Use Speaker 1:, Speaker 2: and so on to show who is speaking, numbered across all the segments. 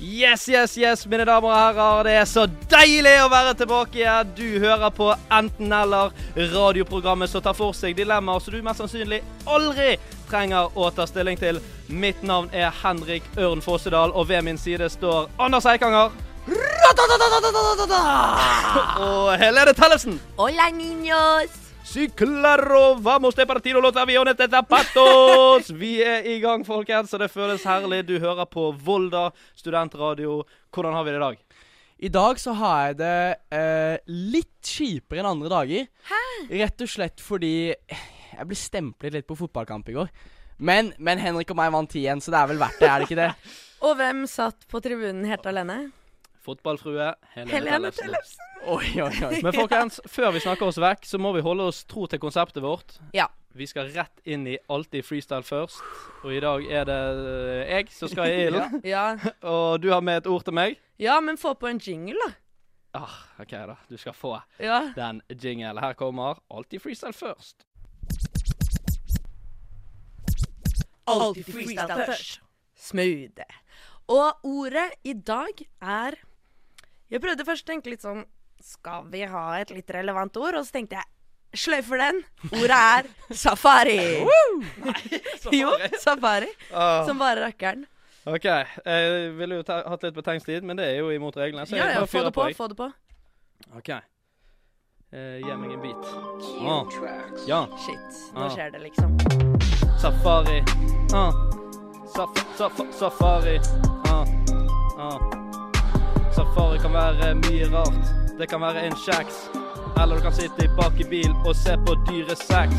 Speaker 1: Yes, yes, yes, mine damer og herrer. Det er så deilig å være tilbake igjen. Du hører på Enten-eller, radioprogrammet som tar for seg dilemmaer som du mest sannsynlig aldri trenger å ta stilling til. Mitt navn er Henrik Ørn Fossedal, og ved min side står Anders Eikanger. Og Helene Tellefsen.
Speaker 2: Hola, niños!
Speaker 1: Si claro, vamos de partido los aviones de zapatos! Vi er i gang, folkens, og det føles herlig. Du hører på Volda studentradio. Hvordan har vi det i dag?
Speaker 3: I dag så har jeg det eh, litt kjipere enn andre dager. Hæ? Rett og slett fordi jeg ble stemplet litt på fotballkamp i går. Men, men Henrik og meg vant 10-1, så det er vel verdt det, er det ikke det?
Speaker 2: Og hvem satt på tribunen helt alene?
Speaker 1: Fotballfrue Helene,
Speaker 2: Helene
Speaker 1: Tellefsen.
Speaker 2: Tellefsen.
Speaker 3: Oi, oi, oi.
Speaker 1: Men folkens, før vi snakker oss vekk, så må vi holde oss tro til konseptet vårt.
Speaker 2: Ja.
Speaker 1: Vi skal rett inn i Alltid freestyle først. Og i dag er det eh, jeg som skal i ilden.
Speaker 2: Ja.
Speaker 1: Og du har med et ord til meg.
Speaker 2: ja, men få på en jingle, da.
Speaker 1: Ah, OK, da. Du skal få
Speaker 2: Ja.
Speaker 1: den jingle. Her kommer Alltid freestyle først.
Speaker 2: Alltid freestyle først. Smooth. Og ordet i dag er Jeg prøvde først å tenke litt sånn Skal vi ha et litt relevant ord? Og så tenkte jeg sløyfer den. Ordet er safari. jo, safari.
Speaker 1: Ah.
Speaker 2: Som bare rakkeren.
Speaker 1: OK. Jeg ville jo ta, hatt litt betenkstid, men det er jo imot reglene. Så
Speaker 2: Ja,
Speaker 1: jeg
Speaker 2: ja,
Speaker 1: bare
Speaker 2: få
Speaker 1: fyrer
Speaker 2: det
Speaker 1: på.
Speaker 2: på,
Speaker 1: jeg.
Speaker 2: få det på.
Speaker 1: OK. Eh, gi meg en bit. Ah. Ja.
Speaker 2: Shit,
Speaker 1: Ah.
Speaker 2: nå skjer det, liksom.
Speaker 1: Safari. Ah. Saf saf safari. Ah. Ah. Safari kan være mye rart. Det kan være en kjeks. Eller du kan sitte bak i bil og se på dyre sex.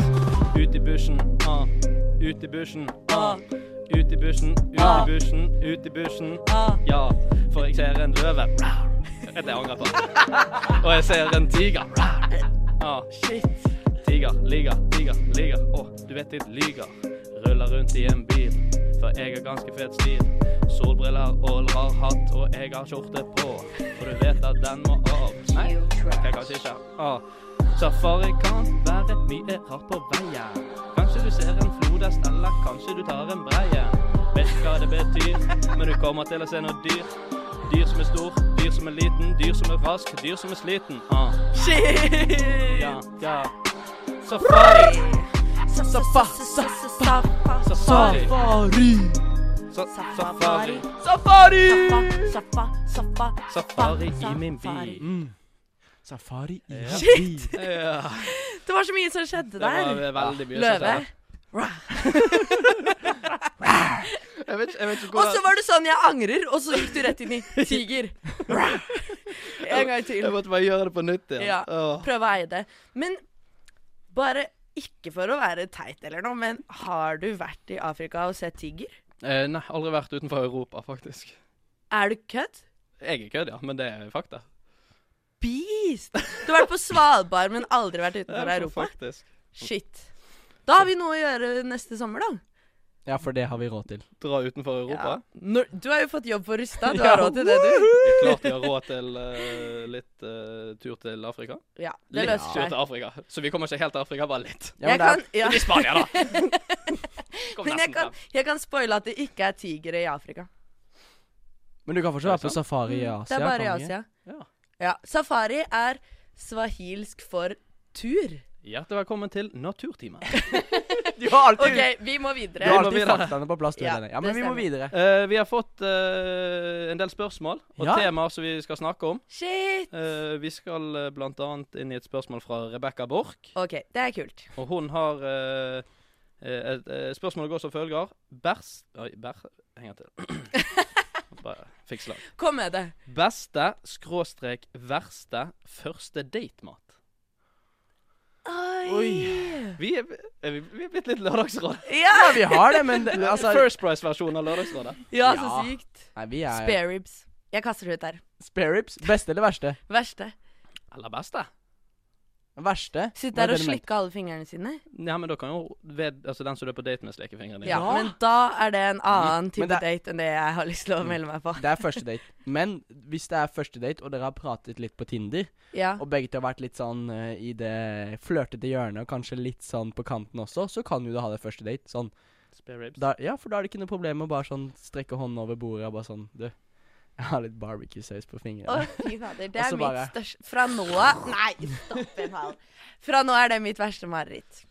Speaker 1: Ut i bushen. Ah. Ut i bushen. Ah. Ut i bushen, ut i
Speaker 2: Ah.
Speaker 1: bushen, ut i bushen.
Speaker 2: Ah.
Speaker 1: Ja, for jeg ser en løve. Dette jeg angrer på. Og jeg ser en tiger. Ah.
Speaker 2: Shit.
Speaker 1: Tiger, liga, tiger, liga. Å, du vet jeg lyger. Ruller rundt i en bil, for jeg har ganske fet stil. Solbriller og rar hatt, og jeg har skjorte på. Og du vet at den må av. Nei, jeg kanskje ikke. Ah. Safari kan være mye rart på veien. Kanskje du ser en flodhest, eller kanskje du tar en breien. Vet ikke hva det betyr, men du kommer til å se noe dyr. Dyr som er stor, dyr som er liten, dyr som er rask, dyr som er sliten. Ah.
Speaker 2: Shit.
Speaker 1: Ja, ja. Safari!
Speaker 2: Safa, sa, sa, safa,
Speaker 1: Safari.
Speaker 3: Safari.
Speaker 1: Sa safari.
Speaker 2: Safari.
Speaker 1: Safari!
Speaker 2: safa, safa,
Speaker 1: Safari i min bil.
Speaker 3: Mm. Safari i
Speaker 1: Ja.
Speaker 3: Shit!
Speaker 1: Ja,
Speaker 2: Det var så mye som skjedde
Speaker 1: det var
Speaker 2: der.
Speaker 1: veldig mye sånt
Speaker 2: Løve.
Speaker 1: der. Jeg vet, ikke- jeg vet ikke
Speaker 2: Og så
Speaker 1: hvordan
Speaker 2: var det sånn 'jeg angrer', og så gikk du rett inn i tiger. En gang
Speaker 1: Jeg
Speaker 2: til.
Speaker 1: måtte bare gjøre det på nytt igjen.
Speaker 2: Ja.
Speaker 1: Åh.
Speaker 2: Prøve å eie det. Men bare ikke for å være teit eller noe, men har du vært i Afrika og sett tiger?
Speaker 1: Eh, nei, aldri vært utenfor Europa, faktisk.
Speaker 2: Er du kødd?
Speaker 1: Jeg er kødd, ja, men det er fakta.
Speaker 2: Beast! Du har vært på Svalbard, men aldri vært
Speaker 1: Det er
Speaker 2: utenfor Europa?
Speaker 1: Faktisk.
Speaker 2: Shit. Da har vi noe å gjøre neste sommer, da.
Speaker 3: Ja, for det har vi råd til.
Speaker 1: Dra utenfor Europa.
Speaker 2: Når, du har jo fått jobb på Rusta. Du
Speaker 3: Ja,
Speaker 2: har råd til det, du.
Speaker 1: Klart vi har råd til eh, litt eh, tur til Afrika.
Speaker 2: Ja, det
Speaker 1: Litt tur
Speaker 2: løser
Speaker 1: til
Speaker 2: seg.
Speaker 1: Afrika. Så vi kommer ikke helt til Afrika, bare litt.
Speaker 3: Ja, men
Speaker 2: Jeg
Speaker 3: det er-
Speaker 2: kan, ja,
Speaker 1: Men I Spania, da! Kom
Speaker 2: men jeg
Speaker 1: nesten
Speaker 2: kan,
Speaker 1: frem.
Speaker 2: jeg kan spoile at det ikke er tigre i Afrika.
Speaker 3: Men du kan fortsatt
Speaker 1: Er det
Speaker 3: være på safari i Asia.
Speaker 2: Mm, Det er bare i
Speaker 3: kan du ikke?
Speaker 2: Asia.
Speaker 1: Ja.
Speaker 2: Ja, Safari er swahilsk for tur.
Speaker 1: Hjertelig velkommen til Naturtimen.
Speaker 3: Du har alltid,
Speaker 2: OK, vi må
Speaker 3: du har
Speaker 2: videre.
Speaker 1: må
Speaker 3: alltid
Speaker 1: videre.
Speaker 3: faktaene på plass. Du,
Speaker 2: Ja,
Speaker 3: ja, ja, men
Speaker 2: det
Speaker 3: vi må
Speaker 2: stemmer.
Speaker 3: videre.
Speaker 1: Eh, vi har fått eh, en del spørsmål og
Speaker 3: Ja.
Speaker 1: temaer som vi skal snakke om.
Speaker 2: Shit.
Speaker 1: Eh, vi skal eh, blant bl.a. inn i et spørsmål fra Rebekka Borch.
Speaker 2: OK, det er kult.
Speaker 1: Og hun har eh, eh, et, eh, Spørsmålet går som følger. Bæsj Oi, bæsj En gang til. Bare fikk slag.
Speaker 2: Kom med det.
Speaker 1: Beste skråstrek verste første datemat.
Speaker 3: Oi.
Speaker 1: Vi er, er vi, vi er blitt litt Lørdagsrådet.
Speaker 2: Ja,
Speaker 3: Ja, vi har det, men det, altså
Speaker 1: First Price-versjon av Lørdagsrådet.
Speaker 2: ja så
Speaker 3: Ja.
Speaker 2: sykt.
Speaker 3: Nei, vi er
Speaker 2: Spare ribs. Jeg kaster det ut der.
Speaker 3: Spare ribs. Beste eller verste?
Speaker 2: Verste.
Speaker 1: Eller beste.
Speaker 3: Verste?
Speaker 2: Sitte
Speaker 3: Hva
Speaker 2: der
Speaker 3: er
Speaker 2: og
Speaker 3: det du mente?
Speaker 2: slikke alle fingrene sine.
Speaker 1: Ja, men da kan jo ved, altså, den som du er på date med, sleke fingrene dine.
Speaker 2: Ja,
Speaker 3: Ja.
Speaker 2: men da er det en annen type
Speaker 3: Men det-
Speaker 2: date enn det jeg har lyst til å melde meg på.
Speaker 3: Det er første date. Men hvis det er første date, og dere har pratet litt på Tinder,
Speaker 2: Ja.
Speaker 3: og begge to har vært litt sånn eh, i det flørtete hjørnet, og kanskje litt sånn på kanten også, så kan jo du ha det første date sånn.
Speaker 1: Spare ribs.
Speaker 3: Da, ja, for da er det ikke noe problem med å bare sånn strekke hånden over bordet og bare sånn Du, jeg Jeg har litt barbecue-saus på fingrene.
Speaker 2: Å, fy fader. Det
Speaker 3: Og
Speaker 2: er
Speaker 3: så
Speaker 2: mitt
Speaker 3: bare-
Speaker 2: største Fra nå av Nei, stopp en hal. Fra nå er det mitt verste mareritt.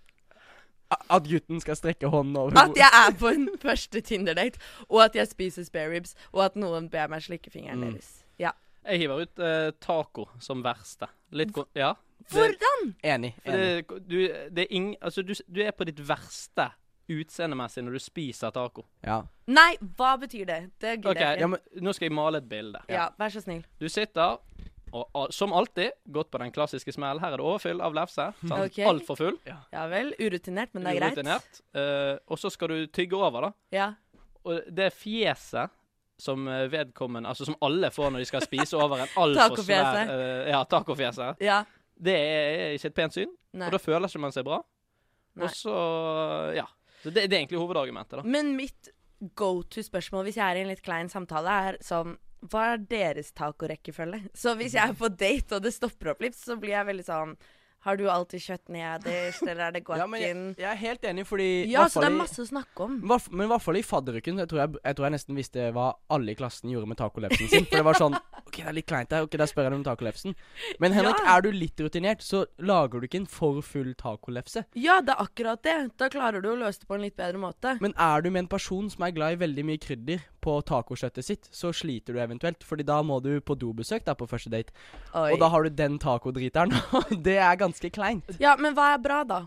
Speaker 3: A- At gutten skal strekke hånden over
Speaker 2: At
Speaker 3: bordet.
Speaker 2: jeg er på en første Tinder-date, og at jeg spiser spareribs, og at noen ber meg slikke fingeren
Speaker 3: Mm.
Speaker 2: deres. Ja.
Speaker 1: Jeg hiver ut eh, taco som verste. Litt kon... Ja. Det,
Speaker 2: Hvordan?
Speaker 3: Enig.
Speaker 1: for
Speaker 3: enig.
Speaker 1: det, du, det er ing... Altså, du, s- du er på ditt verste utseendemessig når du spiser taco.
Speaker 3: Ja.
Speaker 2: Nei, hva betyr det? Det
Speaker 1: OK,
Speaker 2: gidder jeg
Speaker 1: ja,
Speaker 2: ikke.
Speaker 1: men nå skal jeg male et bilde.
Speaker 2: Ja, vær så snill.
Speaker 1: Du sitter og al- som alltid gått på den klassiske smell. Her er det overfyll av lefse. sant?
Speaker 2: Ok.
Speaker 1: Altfor full.
Speaker 2: Ja vel. Urutinert, men det er greit.
Speaker 1: Urutinert. Eh, og så skal du tygge over, da.
Speaker 2: Ja.
Speaker 1: Og det fjeset som eh, vedkommende Altså som alle får når de skal spise over en altfor svær
Speaker 2: Tacofjeset.
Speaker 1: eh, Ja, tacofjeset.
Speaker 2: ja.
Speaker 1: Det er ikke et pent syn,
Speaker 2: Nei.
Speaker 1: og da føler ikke man seg bra.
Speaker 2: Nei.
Speaker 1: Og så Ja. Så det, det er egentlig hovedargumentet, da.
Speaker 2: Men mitt go to-spørsmål hvis jeg er i en litt klein samtale, er sånn Hva er deres tacorekkefølge? Så hvis jeg er på date og det stopper opp litt, så blir jeg veldig sånn Har du alltid kjøtt nederst, eller er det
Speaker 3: ja, men jeg,
Speaker 2: guaccin?
Speaker 3: jeg er helt enig, fordi
Speaker 2: Ja,
Speaker 3: hvert
Speaker 2: så
Speaker 3: fall
Speaker 2: det er
Speaker 3: i-
Speaker 2: masse å snakke om.
Speaker 3: Hva- Men i hvert fall i fadderuken. Jeg tror jeg, jeg tror jeg nesten visste hva alle i klassen gjorde med tacolepsen sin. For det var sånn OK, det er litt kleint her. Ok, da spør jeg deg om tacolepsen. Men Henrik,
Speaker 2: Ja.
Speaker 3: er du litt rutinert, så lager du ikke en for full tacolefse.
Speaker 2: Ja, det er akkurat det. Da klarer du å løse det på en litt bedre måte.
Speaker 3: Men er du med en person som er glad i veldig mye krydder på tacokjøttet sitt, så sliter du eventuelt. Fordi da må du på dobesøk da på første date.
Speaker 2: Oi.
Speaker 3: Og da har du den tacodriteren. og det er ganske kleint.
Speaker 2: Ja, men hva er bra, da?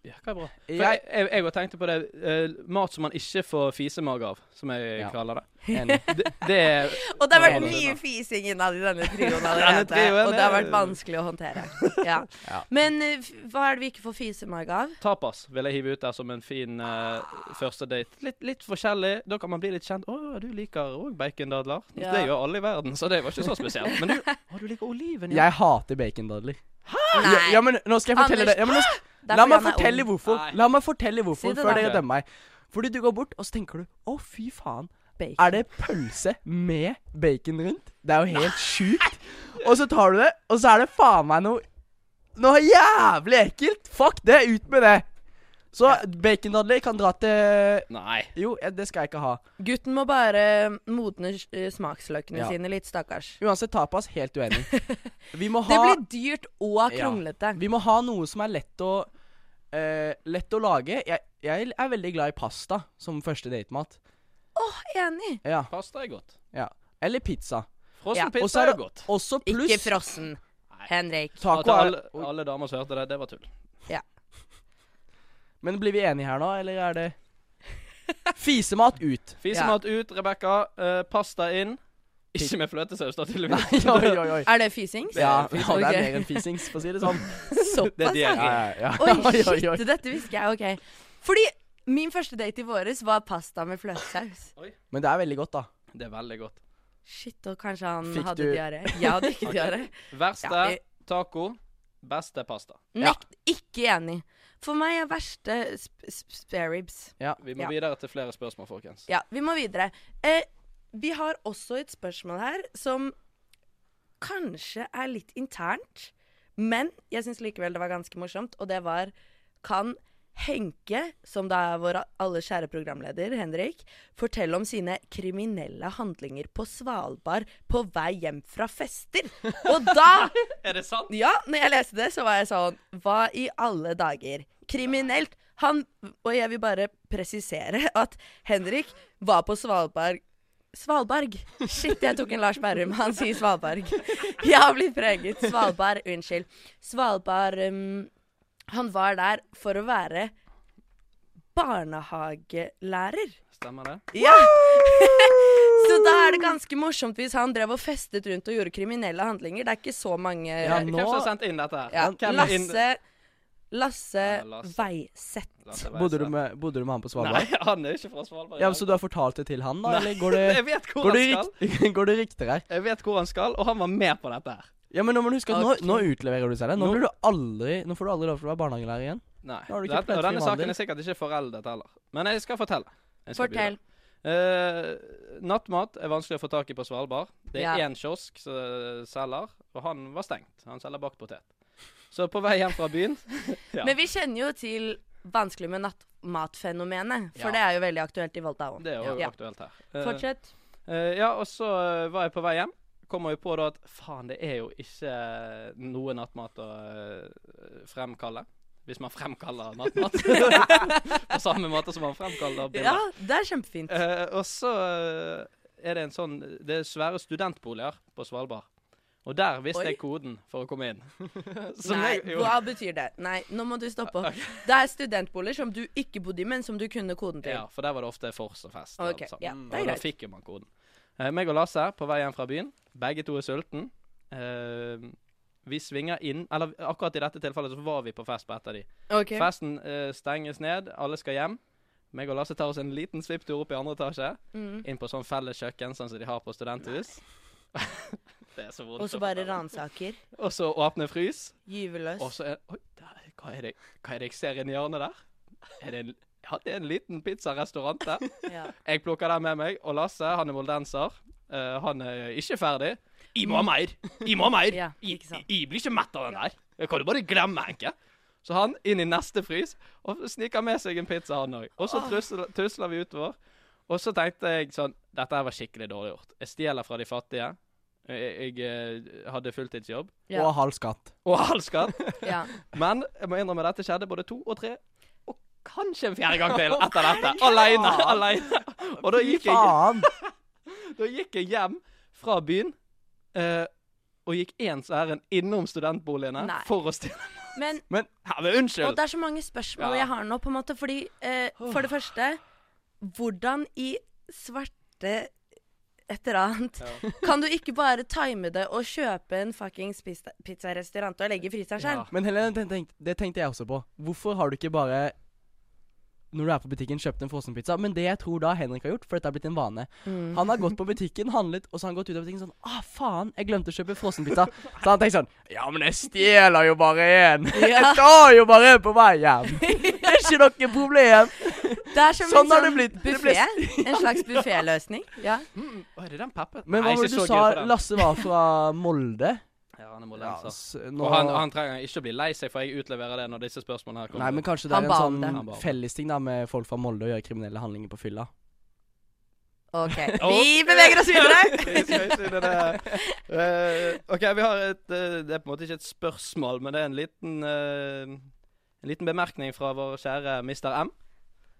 Speaker 1: Ja, hva er bra? For jeg,
Speaker 3: Jeg
Speaker 1: jeg, jeg har tenkt på det eh, Mat som man ikke får fisemage av, som jeg
Speaker 3: Ja.
Speaker 1: kaller det.
Speaker 3: er enig.
Speaker 1: Det, det er
Speaker 2: Og det har vært
Speaker 1: Ja, det er
Speaker 2: mye
Speaker 1: det.
Speaker 2: fising innad i denne trioen
Speaker 1: Denne
Speaker 2: allerede.
Speaker 1: trioen,
Speaker 2: og det har
Speaker 1: ja.
Speaker 2: vært vanskelig å håndtere. Ja.
Speaker 3: Ja.
Speaker 2: Men eh, f- hva er det vi ikke får fisemage av?
Speaker 1: Tapas vil jeg hive ut der som en fin eh, første date. Litt, litt forskjellig. Da kan man bli litt kjent. 'Å, du liker òg bacondadler.'
Speaker 2: Ja.
Speaker 1: Det gjør alle i verden, så det var ikke så spesielt. Men du, å, du liker oliven, ja.
Speaker 3: Jeg hater bacondadler.
Speaker 2: Nei.
Speaker 3: Ja, ja, men nå skal jeg fortelle
Speaker 2: Anders,
Speaker 3: det. Ja, men nå
Speaker 2: Det er
Speaker 3: La
Speaker 2: fordi
Speaker 3: meg
Speaker 2: han er
Speaker 3: fortelle
Speaker 2: ung.
Speaker 3: hvorfor.
Speaker 1: Nei.
Speaker 3: La meg fortelle
Speaker 2: Si
Speaker 3: hvorfor
Speaker 2: det
Speaker 3: før
Speaker 2: da.
Speaker 3: dere dømmer meg. Fordi du går bort, og så tenker du Å, fy faen.
Speaker 2: Bacon.
Speaker 3: Er det pølse med bacon rundt? Det er jo helt sjukt. Og så tar du det, og så er det faen meg noe Noe jævlig ekkelt. Fuck det. Ut med det. Så bacondadler kan dra til
Speaker 1: Nei.
Speaker 3: Jo, eh, det skal jeg ikke ha.
Speaker 2: Gutten må bare modne eh, smaksløkene
Speaker 3: Ja.
Speaker 2: sine litt, stakkars.
Speaker 3: Uansett tapas, helt uenig. Vi må
Speaker 2: Det
Speaker 3: ha
Speaker 2: blir dyrt og
Speaker 3: Ja.
Speaker 2: kronglete.
Speaker 3: Vi må ha noe som er lett å eh, Lett å lage. Jeg, jeg er veldig glad i pasta som første datemat.
Speaker 2: Enig.
Speaker 3: Ja,
Speaker 1: Pasta er godt.
Speaker 3: ja. Eller pizza.
Speaker 1: Frossen
Speaker 2: Ja.
Speaker 1: pizza
Speaker 3: Og så er
Speaker 1: er,
Speaker 3: det-
Speaker 1: godt.
Speaker 3: Også pluss
Speaker 2: Ikke frossen, Henrik.
Speaker 1: Ja,
Speaker 3: taco.
Speaker 1: til
Speaker 3: Er,
Speaker 1: alle, alle damer som hørte det, det var tull.
Speaker 3: men blir vi enige her nå, eller er det Fisemat ut.
Speaker 1: Fisemat ut, Rebekka. Eh, pasta inn. Ikke med fløtesaus, da, tydeligvis.
Speaker 3: oi, oi, oi.
Speaker 2: Er det fisings?
Speaker 3: Ja,
Speaker 1: Det er
Speaker 3: ja, det er
Speaker 2: ok.
Speaker 3: mer enn fisings, for å si det sånn.
Speaker 1: Det er
Speaker 2: Såpass, ja.
Speaker 1: diaré.
Speaker 3: ja.
Speaker 2: Oi, shit, dette visste jeg. OK. Fordi min første date i våres var pasta med fløtesaus.
Speaker 3: Men det er veldig godt, da.
Speaker 1: Det er veldig godt.
Speaker 2: Shit, og kanskje han
Speaker 3: Fikk
Speaker 2: hadde
Speaker 3: du-
Speaker 2: diaré. Jeg hadde ikke diaré.
Speaker 1: Verste
Speaker 2: Ja, vi-
Speaker 1: taco. Beste pasta.
Speaker 2: Nekt, ikke enig. For meg er verste sp sp spareribs.
Speaker 1: Vi må
Speaker 2: Ja.
Speaker 1: videre til flere spørsmål, folkens.
Speaker 2: Ja, vi må videre. Eh, vi har også et spørsmål her som kanskje er litt internt, men jeg syns likevel det var ganske morsomt, og det var Kan Henke, som da er vår alle kjære programleder, Henrik, fortelle om sine kriminelle handlinger på Svalbard på vei hjem fra fester? Og da
Speaker 1: Er det sant?
Speaker 2: ja, når jeg leste det, så var jeg sånn Hva i alle dager? Kriminelt. Han Og jeg vil bare presisere at Henrik var på Svalbard Svalbard. Shit, jeg tok en Lars Berrum. Han sier Svalbard. Jeg har blitt preget. Svalbard. Unnskyld. Svalbard um, Han var der for å være barnehagelærer.
Speaker 1: Stemmer det?
Speaker 2: Ja. så da er det ganske morsomt hvis han drev og festet rundt og gjorde kriminelle handlinger. Det er ikke så mange
Speaker 3: Ja,
Speaker 1: Hvem
Speaker 3: nå-
Speaker 1: som har sendt inn dette? her?
Speaker 2: ja.
Speaker 1: Hvem er inn-
Speaker 2: Lasse Lasse
Speaker 1: Ja, Lasse.
Speaker 2: Veiseth.
Speaker 1: Lasse
Speaker 3: Bodde du
Speaker 1: Weise.
Speaker 3: med, bodde du med han på Svalbard?
Speaker 1: Nei, han er ikke fra Svalbard.
Speaker 3: Ja, men Så du har fortalt det til han, da? Eller går
Speaker 1: jeg
Speaker 3: det,
Speaker 1: vet hvor
Speaker 3: går det,
Speaker 1: han skal.
Speaker 3: rykt, går det rykter her?
Speaker 1: Jeg vet hvor han skal, og han var med på dette her.
Speaker 3: Ja, men nå må du huske at nå,
Speaker 2: Ok.
Speaker 3: nå utleverer du seg det. Nå,
Speaker 1: Nå-
Speaker 3: blir du aldri, nå får du aldri lov til å være barnehagelærer igjen.
Speaker 1: Nei,
Speaker 3: Da har du ikke
Speaker 1: dette,
Speaker 3: plettfri
Speaker 1: og denne saken
Speaker 3: vandel.
Speaker 1: er sikkert ikke foreldet heller. Men jeg skal fortelle. Jeg skal
Speaker 2: Fortell.
Speaker 1: begynne. Eh, nattmat er vanskelig å få tak i på Svalbard. Det er
Speaker 2: Ja.
Speaker 1: én kiosk som selger, og han var stengt. Han selger bakt potet. Så på vei hjem fra byen Ja.
Speaker 2: Men vi kjenner jo til vanskelig med nattmatfenomenet, for
Speaker 1: Ja.
Speaker 2: det er jo veldig aktuelt i Volda òg.
Speaker 1: Det er jo
Speaker 2: Ja.
Speaker 1: aktuelt her. Eh,
Speaker 2: Fortsett.
Speaker 1: Eh, ja, og så eh, var jeg på vei hjem. Kommer jo på da at faen, det er jo ikke eh, noe nattmat å eh, fremkalle. Hvis man fremkaller nattmat. på samme måte som man fremkaller
Speaker 2: Ja,
Speaker 1: bilder.
Speaker 2: det er kjempefint.
Speaker 1: Eh, og så eh, er det en sånn Det er svære studentboliger på Svalbard. Og der visste
Speaker 2: Oi.
Speaker 1: jeg koden for å komme inn. Som
Speaker 2: Nei,
Speaker 1: jeg- jo.
Speaker 2: hva betyr det? Nei, nå må du stoppe opp. Det er studentboliger som du ikke bodde i, men som du kunne koden til.
Speaker 1: Ja, for der var det ofte fors og fest. og
Speaker 2: Ok,
Speaker 1: alt sammen.
Speaker 2: ja, det er
Speaker 1: og da
Speaker 2: greit.
Speaker 1: fikk jo man koden. Eh, meg og Lasse er på vei hjem fra byen. Begge to er sulten. Eh, vi svinger inn Eller akkurat i dette tilfellet så var vi på fest på et av de.
Speaker 2: Ok.
Speaker 1: Festen eh, stenges ned, alle skal hjem. Meg og Lasse tar oss en liten svipptur opp i andre etasje.
Speaker 2: Mm.
Speaker 1: Inn på sånn felles kjøkken sånn som de har på studenthus. det er så vondt.
Speaker 2: Og så
Speaker 1: å
Speaker 2: bare
Speaker 1: fortelle.
Speaker 2: ransaker.
Speaker 1: Og så åpner frys.
Speaker 2: Gyveløs.
Speaker 1: Og så er Oi, der, hva, er det, hva er det jeg ser inni hjørnet der? Er det en, ja, det er en liten pizzarestaurant der.
Speaker 2: Ja.
Speaker 1: Jeg plukker den med meg, og Lasse, han er moldenser. Eh, han er ikke ferdig. Jeg må ha mer! Jeg må ha mer!
Speaker 2: Ja,
Speaker 1: I-
Speaker 2: ikke sant.
Speaker 1: i- jeg blir ikke mett av den der. Jeg kan jo bare glemme, Henke. Så han inn i neste frys og sniker med seg en pizza, han òg. Og så trusler, tusler vi utover. Og så tenkte jeg sånn Dette her var skikkelig dårlig gjort. Jeg stjeler fra de fattige. Jeg, jeg eh, hadde fulltidsjobb.
Speaker 2: Ja.
Speaker 3: Og halv skatt.
Speaker 1: Og halv skatt.
Speaker 2: ja.
Speaker 1: Men jeg må innrømme dette skjedde både to og tre og kanskje en fjerde gang til etter dette. Aleine. Aleine. Og da gikk jeg
Speaker 3: Faen!
Speaker 1: da gikk jeg hjem fra byen eh, og gikk ens ærend innom studentboligene
Speaker 2: Nei.
Speaker 1: for å stille
Speaker 2: Men
Speaker 1: Ja, men
Speaker 2: Og
Speaker 1: unnskyld!
Speaker 2: det er så mange spørsmål
Speaker 1: Ja.
Speaker 2: jeg har nå, på en måte. Fordi, eh, for det første Hvordan i svarte et eller annet kan du ikke bare time det og kjøpe en fuckings pizza- pizzarestaurant og legge i fryseren selv?
Speaker 1: Ja.
Speaker 3: Men Helene, det tenkte, det tenkte jeg også på. Hvorfor har du ikke bare når du er på butikken, kjøpt en frossenpizza? Men det jeg tror da Henrik har gjort, for dette er blitt en vane
Speaker 2: Mm.
Speaker 3: Han har gått på butikken, handlet, og så har han gått ut av butikken sånn Ah, faen, jeg glemte å kjøpe frossenpizza. Så han tenker sånn Ja, men jeg stjeler jo bare én. Jeg tar jo bare en på vei hjem. Det er ikke noe problem.
Speaker 2: Det er som
Speaker 3: Sånn
Speaker 2: en
Speaker 3: har det
Speaker 2: sånn
Speaker 3: blitt. Det ble-
Speaker 2: buffé. En slags bufféløsning. Ja.
Speaker 1: Mm, å, er det den peppen?
Speaker 3: Men hva
Speaker 1: Nei,
Speaker 3: var
Speaker 1: ikke
Speaker 3: det
Speaker 1: så
Speaker 3: du
Speaker 1: gøy
Speaker 3: sa?
Speaker 1: på den.
Speaker 3: Lasse var fra Molde?
Speaker 1: Ja, han er
Speaker 3: Ja,
Speaker 1: molenser.
Speaker 3: s- nå,
Speaker 1: altså. Og han, han trenger ikke å bli lei seg, for jeg utleverer det når disse spørsmålene her kommer.
Speaker 3: Nei, men kanskje det
Speaker 2: Han
Speaker 3: er
Speaker 2: ba
Speaker 3: en
Speaker 2: om det.
Speaker 1: Han ba om
Speaker 3: sånn
Speaker 1: det.
Speaker 3: fellesting da med folk fra Molde å gjøre kriminelle handlinger på fylla.
Speaker 2: OK.
Speaker 1: Og-
Speaker 2: Vi beveger oss videre.
Speaker 1: Vi skal ikke inn i det. Eh, OK, vi har et eh, Det er på en måte ikke et spørsmål, men det er en liten eh, En liten bemerkning fra vår kjære Mr. M.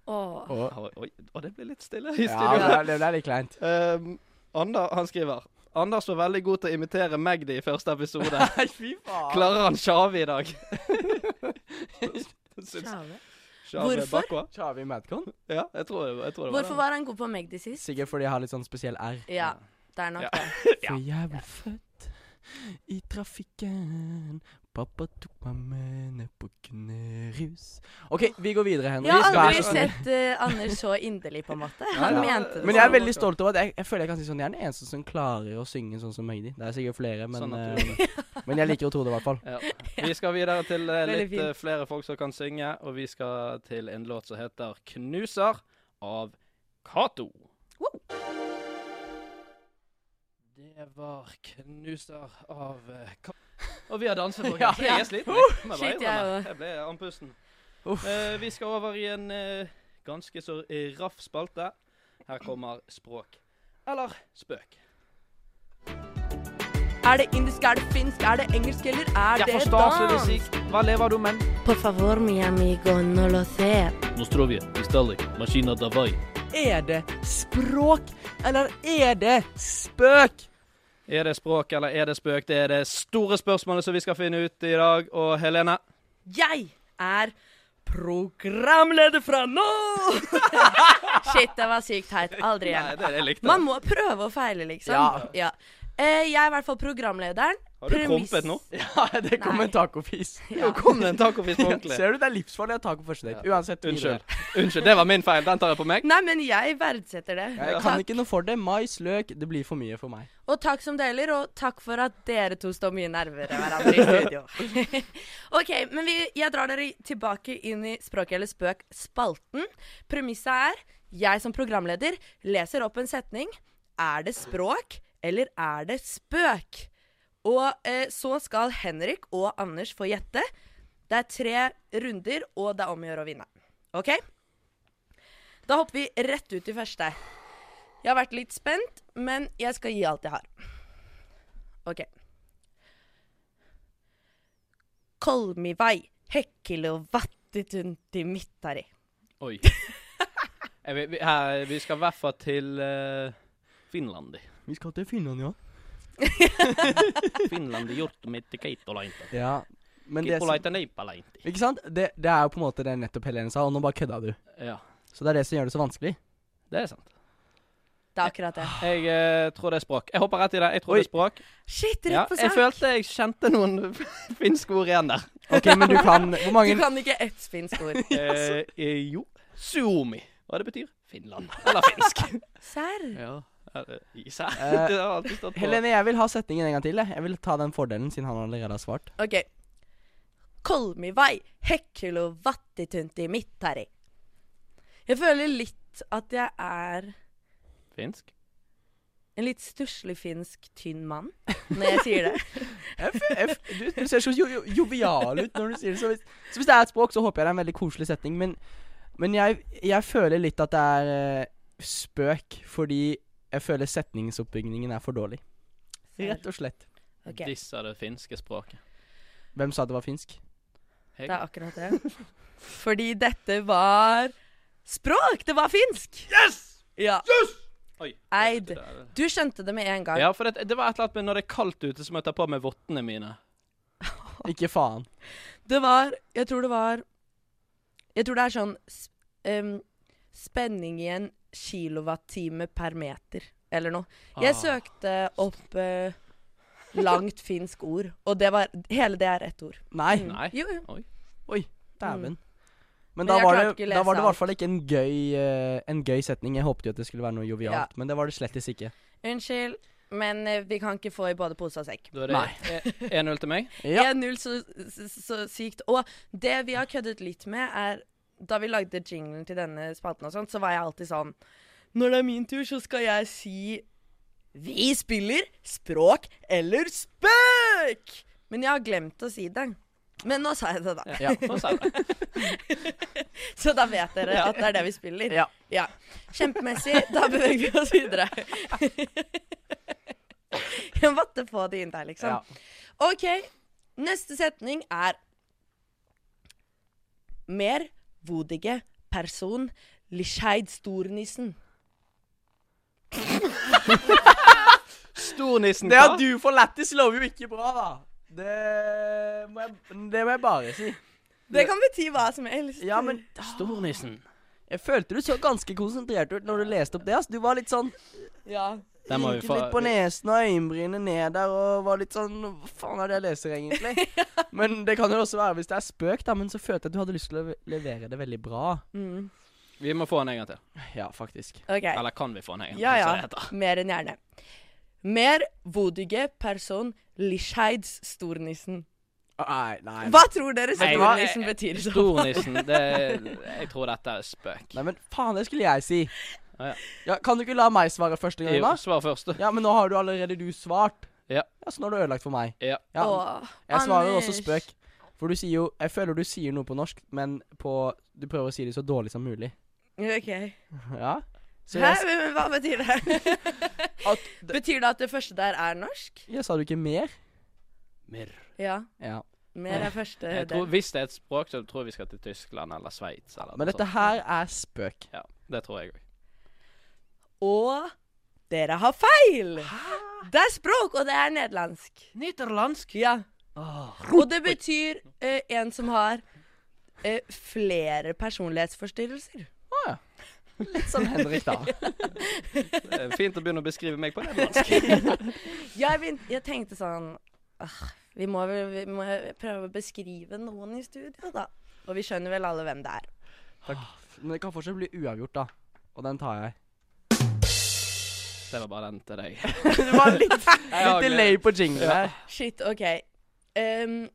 Speaker 2: Åh.
Speaker 1: Oi, oi, å, det ble litt stille i
Speaker 3: Ja,
Speaker 1: studio.
Speaker 3: det er, det er litt kleint.
Speaker 1: Ehm, Ander, han skriver Anders var veldig god til å imitere Magdi i første episode.
Speaker 3: Nei, fy faen.
Speaker 1: Klarer han Shavi i dag? Syns
Speaker 2: Sjave.
Speaker 1: Shavi er
Speaker 2: Hvorfor?
Speaker 1: bakpå?
Speaker 3: Kjører vi Madcon?
Speaker 1: Ja, jeg tror det, var- jeg tror det var
Speaker 2: Hvorfor var han god på Magdi sist?
Speaker 3: Sikkert fordi jeg har litt sånn spesiell R.
Speaker 2: Ja, det er nok
Speaker 1: Ja.
Speaker 2: det.
Speaker 1: Ja.
Speaker 3: For jeg ble født i trafikken. Pappa tok meg med ned på Knerus. OK, vi går videre, Henrik.
Speaker 2: Jeg har
Speaker 3: Vær
Speaker 2: aldri
Speaker 3: så
Speaker 1: sånn.
Speaker 3: snill.
Speaker 2: sett eh, Anders så inderlig, på en måte. Han
Speaker 1: ja.
Speaker 2: mente det
Speaker 3: Men jeg er
Speaker 2: sånn.
Speaker 3: veldig stolt over at jeg, jeg føler jeg kan si sånn Jeg er den eneste som klarer å synge sånn som Magdi. Det er sikkert flere, men,
Speaker 1: Sånn at du
Speaker 3: eh, men jeg liker å tro det, i hvert fall.
Speaker 1: Ja. Vi skal videre til eh,
Speaker 2: Veldig
Speaker 1: litt
Speaker 2: fint.
Speaker 1: eh, flere folk som kan synge, og vi skal til en låt som heter 'Knuser' av Cato. Det var 'Knuser' av Cato. Og vi har danset på
Speaker 3: Ja.
Speaker 1: gang. Jeg er sliten. jeg. Må bare
Speaker 2: Shit, jeg
Speaker 1: innrømme.
Speaker 2: også.
Speaker 1: Jeg ble andpusten.
Speaker 3: Uff.
Speaker 1: Eh, vi skal over i en eh, ganske så eh, raff spalte. Her kommer språk. Eller spøk.
Speaker 2: Er det indisk, er det finsk, er det engelsk, eller er
Speaker 1: Jeg
Speaker 2: det
Speaker 1: forstår så det
Speaker 2: dans?
Speaker 1: sier. Hva lever du med?
Speaker 2: Por favor, mi amigo, no lo sé.
Speaker 1: Nostrovje, Istallik, Maskina Davai.
Speaker 3: Er det språk, eller er det spøk?
Speaker 1: Er det språk eller er det spøk? Det er det store spørsmålet som vi skal finne ut i dag. Og Helene,
Speaker 2: Jeg er programleder fra nå! Shit, det var sykt teit. Aldri
Speaker 1: Nei,
Speaker 2: igjen.
Speaker 1: det er det jeg likte.
Speaker 2: Man må prøve og feile, liksom.
Speaker 3: Ja.
Speaker 2: Eh, jeg er i hvert fall programlederen.
Speaker 1: Har du
Speaker 2: Premiss-
Speaker 1: prompet nå?
Speaker 3: Ja, det kom
Speaker 2: Nei.
Speaker 3: en tacofis.
Speaker 1: Nå kom det en tacofis på ordentlig.
Speaker 3: Ser du, det er livsfarlig å ta på første date. Uansett. videre.
Speaker 1: Unnskyld. Unnskyld, det var min feil. Den tar jeg på meg.
Speaker 2: Nei, men jeg verdsetter det.
Speaker 3: Jeg kan ikke noe for det. Mais, løk, det blir for mye for meg.
Speaker 2: Og takk som deler, og takk for at dere to står mye nærmere hverandre i studio. OK, men vi, jeg drar dere tilbake inn i Språket eller spøk-spalten. Premisset er jeg som programleder leser opp en setning. Er det språk, eller er det spøk? Og eh, så skal Henrik og Anders få gjette. Det er tre runder, og det er om å gjøre å vinne. OK? Da hopper vi rett ut i første. Jeg har vært litt spent, men jeg skal gi alt jeg har. OK. Kolmivai hekkilovattitunti mittari.
Speaker 1: Oi. Jeg vet- vi, her, vi skal i hvert fall til eh, Finland.
Speaker 3: Vi skal til Finland, ja.
Speaker 1: Finland jortumitti keittolainta.
Speaker 3: ja. Men det som,
Speaker 1: Kippolaita neipalainti.
Speaker 3: ikke sant? Det, det er jo på en måte det nettopp Helene sa, og nå bare kødda du.
Speaker 1: Ja,
Speaker 3: Så det er det som gjør det så vanskelig.
Speaker 1: det er sant.
Speaker 2: Det er akkurat det.
Speaker 1: Jeg eh, tror det er språk. Jeg hopper rett i det. Jeg tror det er språk.
Speaker 2: Shit,
Speaker 1: Ja,
Speaker 2: rett på
Speaker 1: jeg
Speaker 2: sak!
Speaker 1: følte jeg kjente noen finske ord igjen der.
Speaker 3: OK, men du kan Hvor
Speaker 2: Du
Speaker 3: mange
Speaker 2: kan ikke ett finsk ord.
Speaker 1: Eh, eh, jo. Suomi. Hva det betyr? Finland. Eller finsk.
Speaker 2: Serr?
Speaker 1: ja. eller Især.
Speaker 3: Eh,
Speaker 1: det har alltid stått på.
Speaker 3: Helene, jeg vil ha setningen en gang til. Jeg Jeg vil ta den fordelen, siden han allerede har svart.
Speaker 2: OK. Kolmivai hekkilovattitunti mittari. Jeg føler litt at jeg er
Speaker 1: Finsk?
Speaker 2: en litt stusslig finsk tynn mann når jeg sier det.
Speaker 3: F, F, du, du ser så jo, jo, jovial ut når du sier det. Så hvis, så hvis det er et språk, så håper jeg det er en veldig koselig setning. Men, men jeg, jeg føler litt at det er eh, spøk, fordi jeg føler setningsoppbygningen er for dårlig. Rett og slett.
Speaker 2: Ok.
Speaker 1: Disse er det finske språket.
Speaker 3: Hvem sa det var finsk?
Speaker 1: Hei.
Speaker 2: Det er akkurat det. Fordi dette var språk! Det var finsk!
Speaker 1: Yes!
Speaker 2: Ja.
Speaker 1: Oi.
Speaker 2: Eid. Du skjønte det med en gang.
Speaker 1: Ja, for det, det var et eller annet med når det er kaldt ute, så må jeg ta på meg vottene mine.
Speaker 3: Ikke faen.
Speaker 2: Det var Jeg tror det var Jeg tror det er sånn s- em, spenning i en kilowattime per meter, eller noe. Jeg
Speaker 1: Ah.
Speaker 2: søkte opp eh, langt finsk ord, og det var Hele det er ett ord.
Speaker 3: Nei,
Speaker 1: Nei.
Speaker 2: Jo, jo.
Speaker 3: dæven. Men
Speaker 2: Men
Speaker 3: da
Speaker 2: jeg
Speaker 3: var,
Speaker 2: klarte
Speaker 3: det,
Speaker 2: ikke å
Speaker 3: da var
Speaker 2: lese
Speaker 3: det i hvert fall ikke en gøy, eh, en gøy setning. Jeg håpet jo at det skulle være noe
Speaker 2: Ja.
Speaker 3: jovialt, men det var det slettes ikke.
Speaker 2: Unnskyld, men eh, vi kan ikke få i både pose og sekk.
Speaker 1: Da er det 1-0 til meg.
Speaker 3: Ja.
Speaker 2: 1-0 så, så, så sykt. Og det vi har køddet litt med, er Da vi lagde jinglen til denne spalten og sånn, så var jeg alltid sånn Når det er min tur, så skal jeg si Vi spiller språk eller spøk! Men jeg har glemt å si det. Men nå sa jeg det, da.
Speaker 1: Ja, nå sa jeg det.
Speaker 2: Så da vet dere at det er det vi spiller.
Speaker 3: Ja.
Speaker 2: ja. Kjempemessig. Da beveger vi oss videre. Jeg måtte få det inn der, liksom.
Speaker 3: Ja.
Speaker 2: OK. Neste setning er Mer vodige person lischeid stornissen.
Speaker 1: Stornissen
Speaker 3: Det
Speaker 1: hva?
Speaker 3: at du får lættis, lover jo ikke bra, da. Det må, jeg, det må jeg bare si.
Speaker 2: Det kan bety hva som helst.
Speaker 3: Ja, men
Speaker 1: Stornissen.
Speaker 3: jeg følte du så ganske konsentrert ut når du leste opp det. ass. Du var litt sånn
Speaker 2: Ja.
Speaker 1: Den må vi
Speaker 3: Rynket
Speaker 1: få-
Speaker 3: litt på nesen og øyenbrynene ned der og var litt sånn Hva faen er det jeg leser, egentlig? Men det kan jo også være hvis det er spøk, da. Men så følte jeg at du hadde lyst til å le- levere det veldig bra.
Speaker 2: Mm.
Speaker 1: Vi må få den en gang til.
Speaker 3: Ja, faktisk.
Speaker 2: OK.
Speaker 1: Eller kan vi få den en gang til?
Speaker 2: Ja
Speaker 1: som det
Speaker 2: ja.
Speaker 1: heter.
Speaker 2: Mer enn gjerne. Mer vodige person lischeids stornissen.
Speaker 3: Ah, Nei, nei.
Speaker 2: Hva tror dere
Speaker 1: Nei,
Speaker 2: stornissen
Speaker 1: hva-
Speaker 2: betyr? så?
Speaker 1: Stornissen. Det, jeg tror dette er spøk.
Speaker 3: Nei, men faen, det skulle jeg si.
Speaker 1: Ah, Ja, ja.
Speaker 3: Ja, kan du ikke la meg svare første gang,
Speaker 1: Jo,
Speaker 3: da?
Speaker 1: svar først.
Speaker 3: Ja, men nå har du allerede du svart.
Speaker 1: Ja.
Speaker 3: ja så nå har du ødelagt for meg.
Speaker 1: Ja.
Speaker 3: Ja,
Speaker 2: Åh,
Speaker 3: Jeg svarer også
Speaker 2: Anders.
Speaker 3: spøk. For du sier jo Jeg føler du sier noe på norsk, men på Du prøver å si det så dårlig som mulig.
Speaker 2: OK.
Speaker 3: Ja? Så
Speaker 2: Hæ?
Speaker 3: jeg,
Speaker 2: Men, men hva betyr det?
Speaker 3: at,
Speaker 2: betyr det at det første der er norsk?
Speaker 3: jeg sa du ikke mer?
Speaker 1: Mer.
Speaker 2: Ja.
Speaker 3: Ja.
Speaker 2: Mer er første
Speaker 1: Jeg tror,
Speaker 2: del.
Speaker 1: hvis det er et språk, så tror jeg vi skal til Tyskland eller Sveits. eller noe
Speaker 3: Men dette
Speaker 1: sånt.
Speaker 3: her er spøk.
Speaker 1: Ja, det tror jeg òg.
Speaker 2: Og dere har feil! Det er språk, og det er nederlandsk.
Speaker 1: Nederlandsk.
Speaker 2: Ja. Og det betyr eh, en som har eh, flere personlighetsforstyrrelser.
Speaker 3: Å ja. Litt som Henrik, da.
Speaker 1: Det er fint å begynne å beskrive meg på nederlandsk.
Speaker 2: Jeg, begyn- jeg tenkte sånn «Ah, Vi må vel vi må prøve å beskrive noen i studio, da. Og vi skjønner vel alle hvem det er.
Speaker 3: Men det kan fortsatt bli uavgjort, da. Og den tar jeg.
Speaker 1: Det var bare den til deg.
Speaker 3: Det var litt,
Speaker 1: har
Speaker 3: litt delay på jingle
Speaker 1: Ja.
Speaker 3: her.
Speaker 2: Shit, OK. Ehm,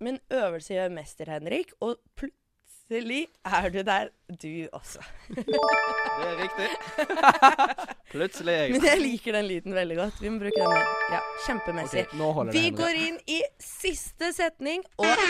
Speaker 2: men øvelse gjør mester, Henrik. Og plutselig er du der, du også.
Speaker 1: Det er riktig. Plutselig er jeg
Speaker 2: Men jeg liker den lyden veldig godt. Vi må bruke den mer. Ja, kjempemessig.
Speaker 3: Ok, nå holder det,
Speaker 2: Vi
Speaker 3: Henrik.
Speaker 2: går inn i siste setning, og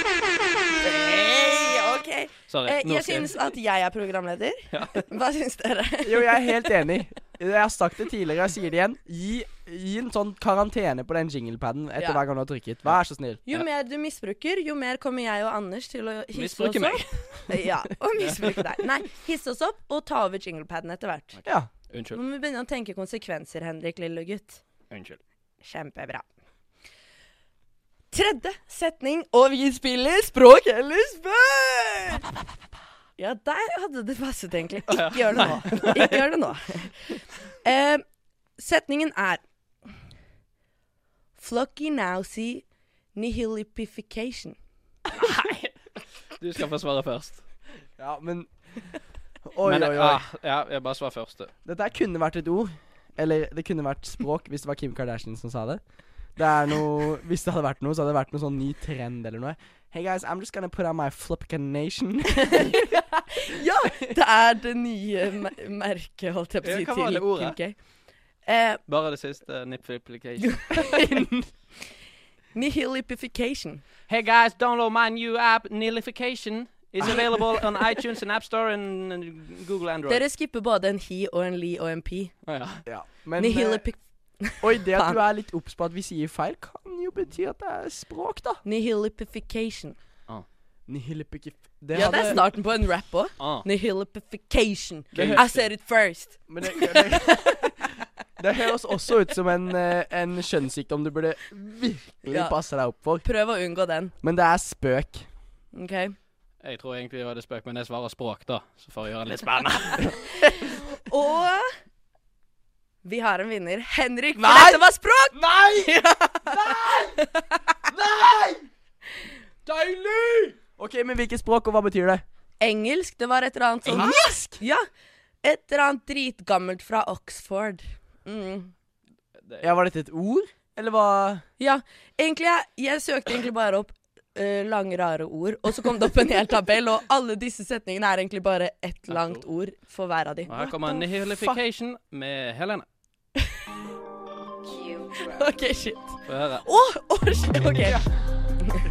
Speaker 2: Hey, OK.
Speaker 1: Sorry.
Speaker 2: Eh,
Speaker 1: nå
Speaker 2: jeg
Speaker 1: skal jeg-
Speaker 2: syns at jeg er programleder. Hva syns dere?
Speaker 3: Jo, jeg er helt enig. Jeg har sagt det tidligere, jeg sier det igjen. Gi, gi en sånn karantene på den jinglepaden etter
Speaker 2: Ja.
Speaker 3: hver gang du har trykket. Vær så snill.
Speaker 2: Jo
Speaker 1: Ja.
Speaker 2: mer du misbruker, jo mer kommer jeg og Anders til å hisse
Speaker 1: Misbruke
Speaker 2: oss opp. ja, og misbruke deg. Nei, hisse oss opp og ta over jinglepaden etter hvert.
Speaker 3: Ja.
Speaker 2: Nå
Speaker 1: Unnskyld.
Speaker 2: må vi begynne å tenke konsekvenser, Henrik, lille gutt.
Speaker 1: Unnskyld.
Speaker 2: Kjempebra. Tredje setning, og vi spiller språk eller spør! Ja, der hadde det passet, egentlig. Ikke gjør det nå. Ikke gjør det nå. Eh, setningen er Flocky nowsy nihilipification.
Speaker 1: Du skal få svare først.
Speaker 3: ja, men Oi,
Speaker 1: Men,
Speaker 3: oi, oi.
Speaker 1: ah, ja, jeg bare svar først. du.
Speaker 3: Dette her kunne vært et ord. Eller det kunne vært språk, hvis det var Kim Kardashian som sa det. Det er noe Hvis det hadde vært noe, så hadde det vært noe sånn ny trend eller noe. Hey guys, I'm just gonna put on my flipcanation.
Speaker 2: Ja, det er det nye mer- merket, holdt jeg på å
Speaker 1: Ja,
Speaker 2: si,
Speaker 1: hva var det
Speaker 2: til Kim
Speaker 1: ordet?
Speaker 2: K. Eh,
Speaker 1: Bare det siste. Nipplication.
Speaker 2: nihilipification.
Speaker 1: Hey guys, download my new app, Nilification. It's available on iTunes and App Store and, and Google Android.
Speaker 2: Dere skipper både en he og en li og en pi.
Speaker 1: Å ja.
Speaker 3: ja, men eh,
Speaker 2: Nihilipi
Speaker 3: Oi, det at du er litt obs på at vi sier feil, kan jo bety at det er språk, da.
Speaker 2: nihilipification.
Speaker 3: Nihilipikif...
Speaker 2: Ja, det er starten på en rap òg.
Speaker 1: Ah.
Speaker 2: Nihilipification.
Speaker 1: Det-
Speaker 2: I said it first.
Speaker 3: Men det, det, det høres også ut som en, eh, en skjønnssykdom du burde virkelig
Speaker 2: Ja.
Speaker 3: passe deg opp for.
Speaker 2: Prøv å unngå den.
Speaker 3: Men det er spøk.
Speaker 2: OK?
Speaker 1: Jeg tror egentlig jeg hadde spøk, men jeg svarer språk, da. Så for å gjøre det litt spennende.
Speaker 2: Og vi har en vinner. Henrik, for
Speaker 3: Nei!
Speaker 2: dette var språk!
Speaker 3: Nei! Nei! Nei! Deilig! OK, men hvilket språk, og hva betyr det?
Speaker 2: Engelsk. Det var et eller annet sånn
Speaker 3: Engelsk!
Speaker 2: Ja. Et eller annet dritgammelt fra Oxford. Mm.
Speaker 3: Ja, Var dette et ord, eller hva
Speaker 2: Ja, egentlig jeg, jeg søkte egentlig bare opp eh, lange, rare ord, og så kom det opp en hel tabell, og alle disse setningene er egentlig bare ett langt ord for hver av de.
Speaker 1: Og her kommer
Speaker 3: What the
Speaker 1: Nihilification med Helene.
Speaker 2: OK, shit.
Speaker 1: Få høre.
Speaker 2: Å, å, shit, OK.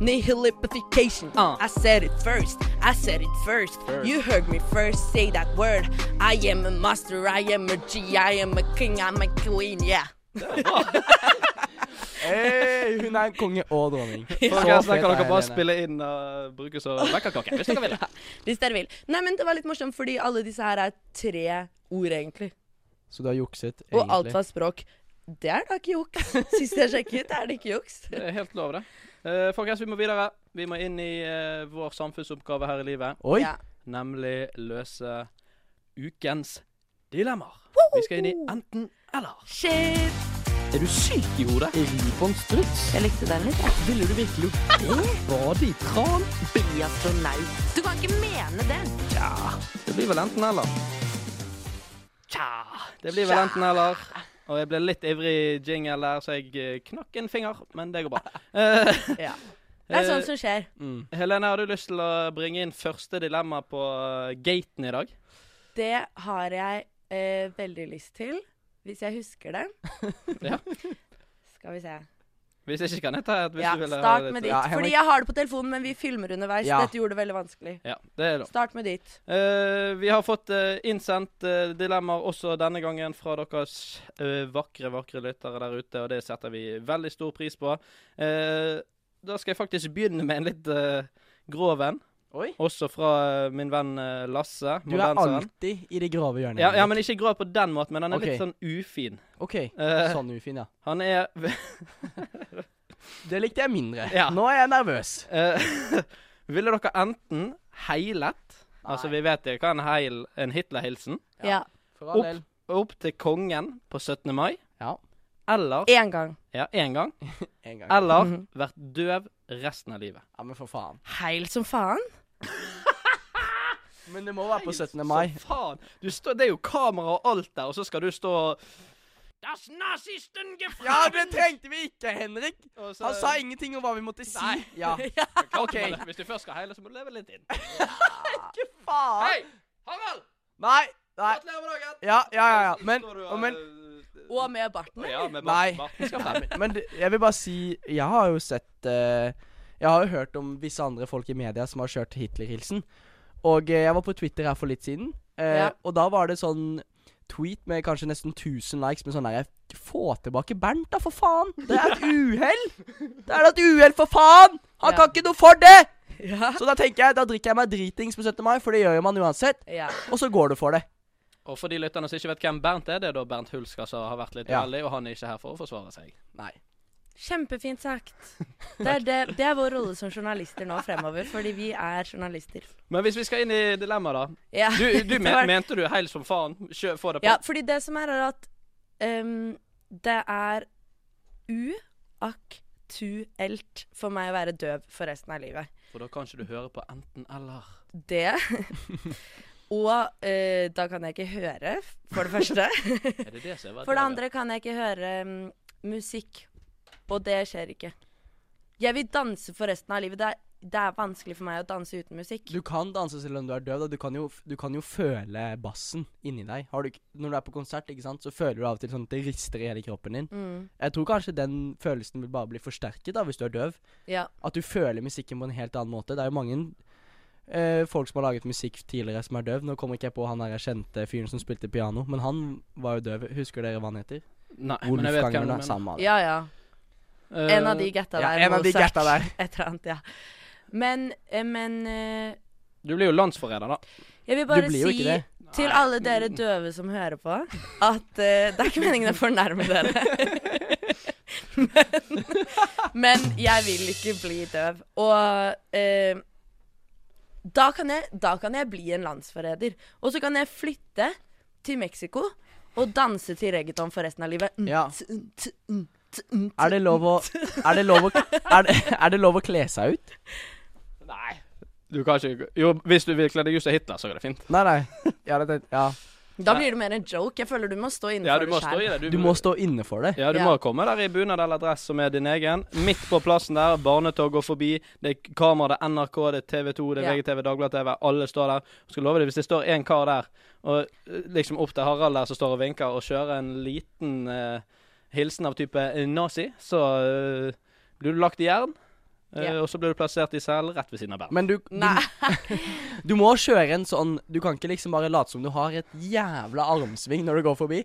Speaker 2: Nihilipification.
Speaker 1: Ah.
Speaker 2: I said it first. I said it first.
Speaker 1: First.
Speaker 2: You heard me first say that word. I am a master. I am a G. I am a king. I'm a queen. Yeah.
Speaker 3: Hey, hun er konge og dronning.
Speaker 1: Folkens, da
Speaker 3: Så fet
Speaker 1: kan
Speaker 3: er
Speaker 1: dere bare
Speaker 3: Helene.
Speaker 1: spille inn og bruke som vekkerklokke hvis dere vil.
Speaker 2: Hvis dere vil. Nei, men det var litt morsomt, fordi alle disse her er tre ord, egentlig.
Speaker 3: Så du har jukset, egentlig.
Speaker 2: Og alt var språk. Det er da ikke juks. Sist jeg sjekket, er det ikke juks.
Speaker 1: Det er helt lov, det. Eh, folkens, vi må videre. Vi må inn i eh, vår samfunnsoppgave her i livet,
Speaker 3: Oi!
Speaker 2: Ja.
Speaker 1: nemlig løse ukens dilemmaer. Vi skal inn i enten-eller.
Speaker 2: Shit!
Speaker 1: Er du syk i hodet?
Speaker 3: Ribbon struts.
Speaker 2: Jeg likte den litt. jeg.
Speaker 3: Ville du virkelig gjort det? Bade i tran?
Speaker 2: Du kan ikke mene det.
Speaker 1: Det blir vel enten-eller. Det blir vel enten-eller. Og jeg ble litt ivrig i jingle der, så jeg eh, knakk en finger, men det går bra. Eh,
Speaker 2: Ja. Det er
Speaker 1: eh,
Speaker 2: sånt som skjer.
Speaker 3: Mm.
Speaker 1: Helene, har du lyst til å bringe inn første dilemma på eh, gaten i dag?
Speaker 2: Det har jeg eh, veldig lyst til, hvis jeg husker det.
Speaker 1: Ja.
Speaker 2: Skal vi se.
Speaker 1: Hvis ikke kan jeg ta et hvis
Speaker 2: Ja,
Speaker 1: du vil ha
Speaker 2: start
Speaker 1: litt-
Speaker 2: med
Speaker 3: Ja,
Speaker 2: ditt.
Speaker 3: Henrik.
Speaker 2: Fordi jeg har det på telefonen, men vi filmer underveis.
Speaker 3: Ja.
Speaker 2: Dette gjorde det veldig vanskelig.
Speaker 1: Ja, det er lov.
Speaker 2: Start med ditt.
Speaker 1: Eh, vi har fått eh, innsendt eh, dilemmaer også denne gangen fra deres eh, vakre, vakre lyttere der ute, og det setter vi veldig stor pris på. Eh, da skal jeg faktisk begynne med en litt eh, grov en,
Speaker 3: Oi.
Speaker 1: også fra eh, min venn eh, Lasse.
Speaker 3: Du er
Speaker 1: Mordenseren.
Speaker 3: alltid i det grave hjørnet.
Speaker 1: ja, ja, men ikke grov på den måten, men han er
Speaker 3: Ok.
Speaker 1: litt sånn ufin.
Speaker 3: OK.
Speaker 1: Eh,
Speaker 3: Sånn ufin, ja.
Speaker 1: Han er
Speaker 3: Det likte jeg mindre.
Speaker 1: Ja.
Speaker 3: Nå er jeg nervøs.
Speaker 1: eh, Ville dere enten heilet Altså, vi vet det, hva er en, heil, en Hitler-hilsen?
Speaker 2: Ja.
Speaker 3: For all
Speaker 1: Opp.
Speaker 3: del.
Speaker 1: Opp til kongen på 17. mai,
Speaker 3: Ja. E-
Speaker 1: eller
Speaker 2: Én gang.
Speaker 1: Ja, én gang.
Speaker 3: En gang.
Speaker 1: Eller
Speaker 2: Mhm.
Speaker 1: vært døv resten av livet.
Speaker 3: Ja, men for faen.
Speaker 2: Heil som faen.
Speaker 3: Men det må være på 17. mai.
Speaker 1: Så faen! Du står- det er jo kamera og alt der, og så skal du stå og Das Nazisten gefangen!
Speaker 3: Ja, det trengte vi ikke, Henrik!
Speaker 1: Og så-
Speaker 3: Han sa ingenting om hva vi måtte si.
Speaker 1: Nei.
Speaker 3: Ja. OK.
Speaker 1: Hvis du først skal heile, så må du leve litt inn.
Speaker 3: Ikke faen.
Speaker 1: Hei! Harald!
Speaker 3: Nei. Nei.
Speaker 1: Gratulerer med dagen!
Speaker 3: Ja, ja, ja. ja. Men,
Speaker 1: Står du,
Speaker 3: og men
Speaker 1: eh,
Speaker 2: Og med barten.
Speaker 1: ja, med
Speaker 3: Nei.
Speaker 1: Barten- Barten skal frem.
Speaker 3: Men det- jeg vil bare si Jeg har jo sett eh, Jeg har jo hørt om visse andre folk i media som har kjørt Hitler-hilsen. Og eh, jeg var på Twitter her for litt siden, eh,
Speaker 2: Ja.
Speaker 3: og da var det sånn tweet med kanskje nesten 1000 likes med sånn derre Få tilbake Bernt, da, for faen! Det er et uhell! Det er da et uhell, for faen! Han
Speaker 2: Ja.
Speaker 3: kan ikke noe for det!
Speaker 2: Ja.
Speaker 3: Så da tenker jeg, da drikker jeg meg dritings på 17. mai, for det gjør jo man uansett.
Speaker 2: ja.
Speaker 3: Og så går du for det.
Speaker 1: Og for de lytterne som ikke vet hvem Bernt er, det er da Bernt Hulska som har vært litt
Speaker 3: Ja.
Speaker 1: uheldig, og han er ikke her for å forsvare seg.
Speaker 3: Nei.
Speaker 2: Kjempefint sagt. Det er, det, det er vår rolle som journalister nå fremover, fordi vi er journalister.
Speaker 1: Men hvis vi skal inn i dilemmaet, da.
Speaker 2: Ja.
Speaker 1: Du, du
Speaker 2: Det
Speaker 1: men,
Speaker 2: var-
Speaker 1: mente du helt som faen? Kjø, få det på.
Speaker 2: Ja, fordi det som er, er at ehm, det er uaktuelt for meg å være døv for resten av livet.
Speaker 1: For da kan ikke du høre på enten-eller.
Speaker 2: Det Og eh, da kan jeg ikke høre, for det første.
Speaker 1: Er det det som er
Speaker 2: For det andre kan jeg ikke høre mm, musikk, og det skjer ikke. Jeg vil danse for resten av livet. Det er, det er vanskelig for meg å danse uten musikk.
Speaker 3: Du kan danse selv om du er døv. Da. Du, kan jo, du kan jo føle bassen inni deg. Har du, ikke- når du er på konsert, ikke sant, så føler du av og til sånn at det rister i hele kroppen din.
Speaker 2: Mm,
Speaker 3: Jeg tror kanskje den følelsen vil bare bli forsterket da, hvis du er døv.
Speaker 2: ja.
Speaker 3: At du føler musikken på en helt annen måte. Det er jo mange eh, folk som har laget musikk tidligere som er døv. Nå kommer ikke jeg på han der jeg kjente fyren som spilte piano, men han var jo døv. Husker dere hva han heter?
Speaker 1: Nei, men jeg vet hvem du
Speaker 3: Wolfgang
Speaker 1: mener.
Speaker 3: Samme av det.
Speaker 2: ja, ja.
Speaker 1: Eh,
Speaker 2: En av de getta
Speaker 3: Ja,
Speaker 2: der.
Speaker 3: en av de
Speaker 2: Mozart,
Speaker 3: getta der.
Speaker 2: Et eller annet, ja. Men, eh, men eh,
Speaker 1: Du blir jo landsforræder, da.
Speaker 2: Jeg vil
Speaker 3: Du
Speaker 2: bare
Speaker 3: blir jo
Speaker 2: si
Speaker 3: ikke det.
Speaker 2: til alle dere døve som hører på, at eh, det er ikke meningen å fornærme dere. men, men jeg vil ikke bli døv. Og eh, da, kan jeg, da kan jeg bli en landsforræder. Og så kan jeg flytte til Mexico og danse til reggaeton for resten av livet. Mm,
Speaker 3: Ja.
Speaker 2: t- mm, t- mm, t- mm, t-
Speaker 3: Er det lov å Er det lov å, er det, er det lov å kle seg ut?
Speaker 1: Nei. Du kan ikke Jo, hvis du vil kle deg ut som Hitler, så er det fint.
Speaker 3: Nei, nei. Ja, det, det, ja.
Speaker 2: Da blir det mer en joke. Jeg føler du må stå
Speaker 1: Ja,
Speaker 2: innenfor
Speaker 1: du må stå i
Speaker 2: selv.
Speaker 1: det.
Speaker 3: Du må stå inne for det.
Speaker 1: Ja, du
Speaker 2: Ja.
Speaker 1: må komme der i bunad eller dress som er din egen. Midt på plassen der, barnetog går forbi, det er kamera, det er NRK, det er TV 2, det er
Speaker 2: Ja.
Speaker 1: VGTV, Dagbladet TV, alle står der. Jeg skal love deg, hvis det står en kar der, og eh, liksom opp til Harald der som står og vinker, og kjører en liten eh, hilsen av type nazi, så eh, blir du lagt i jern, eh,
Speaker 2: Ja.
Speaker 1: og så blir du plassert i sel rett ved siden av Bernt.
Speaker 3: Men du, du,
Speaker 2: Nei.
Speaker 3: du må kjøre en sånn Du kan ikke liksom bare late som du har et jævla armsving når du går forbi.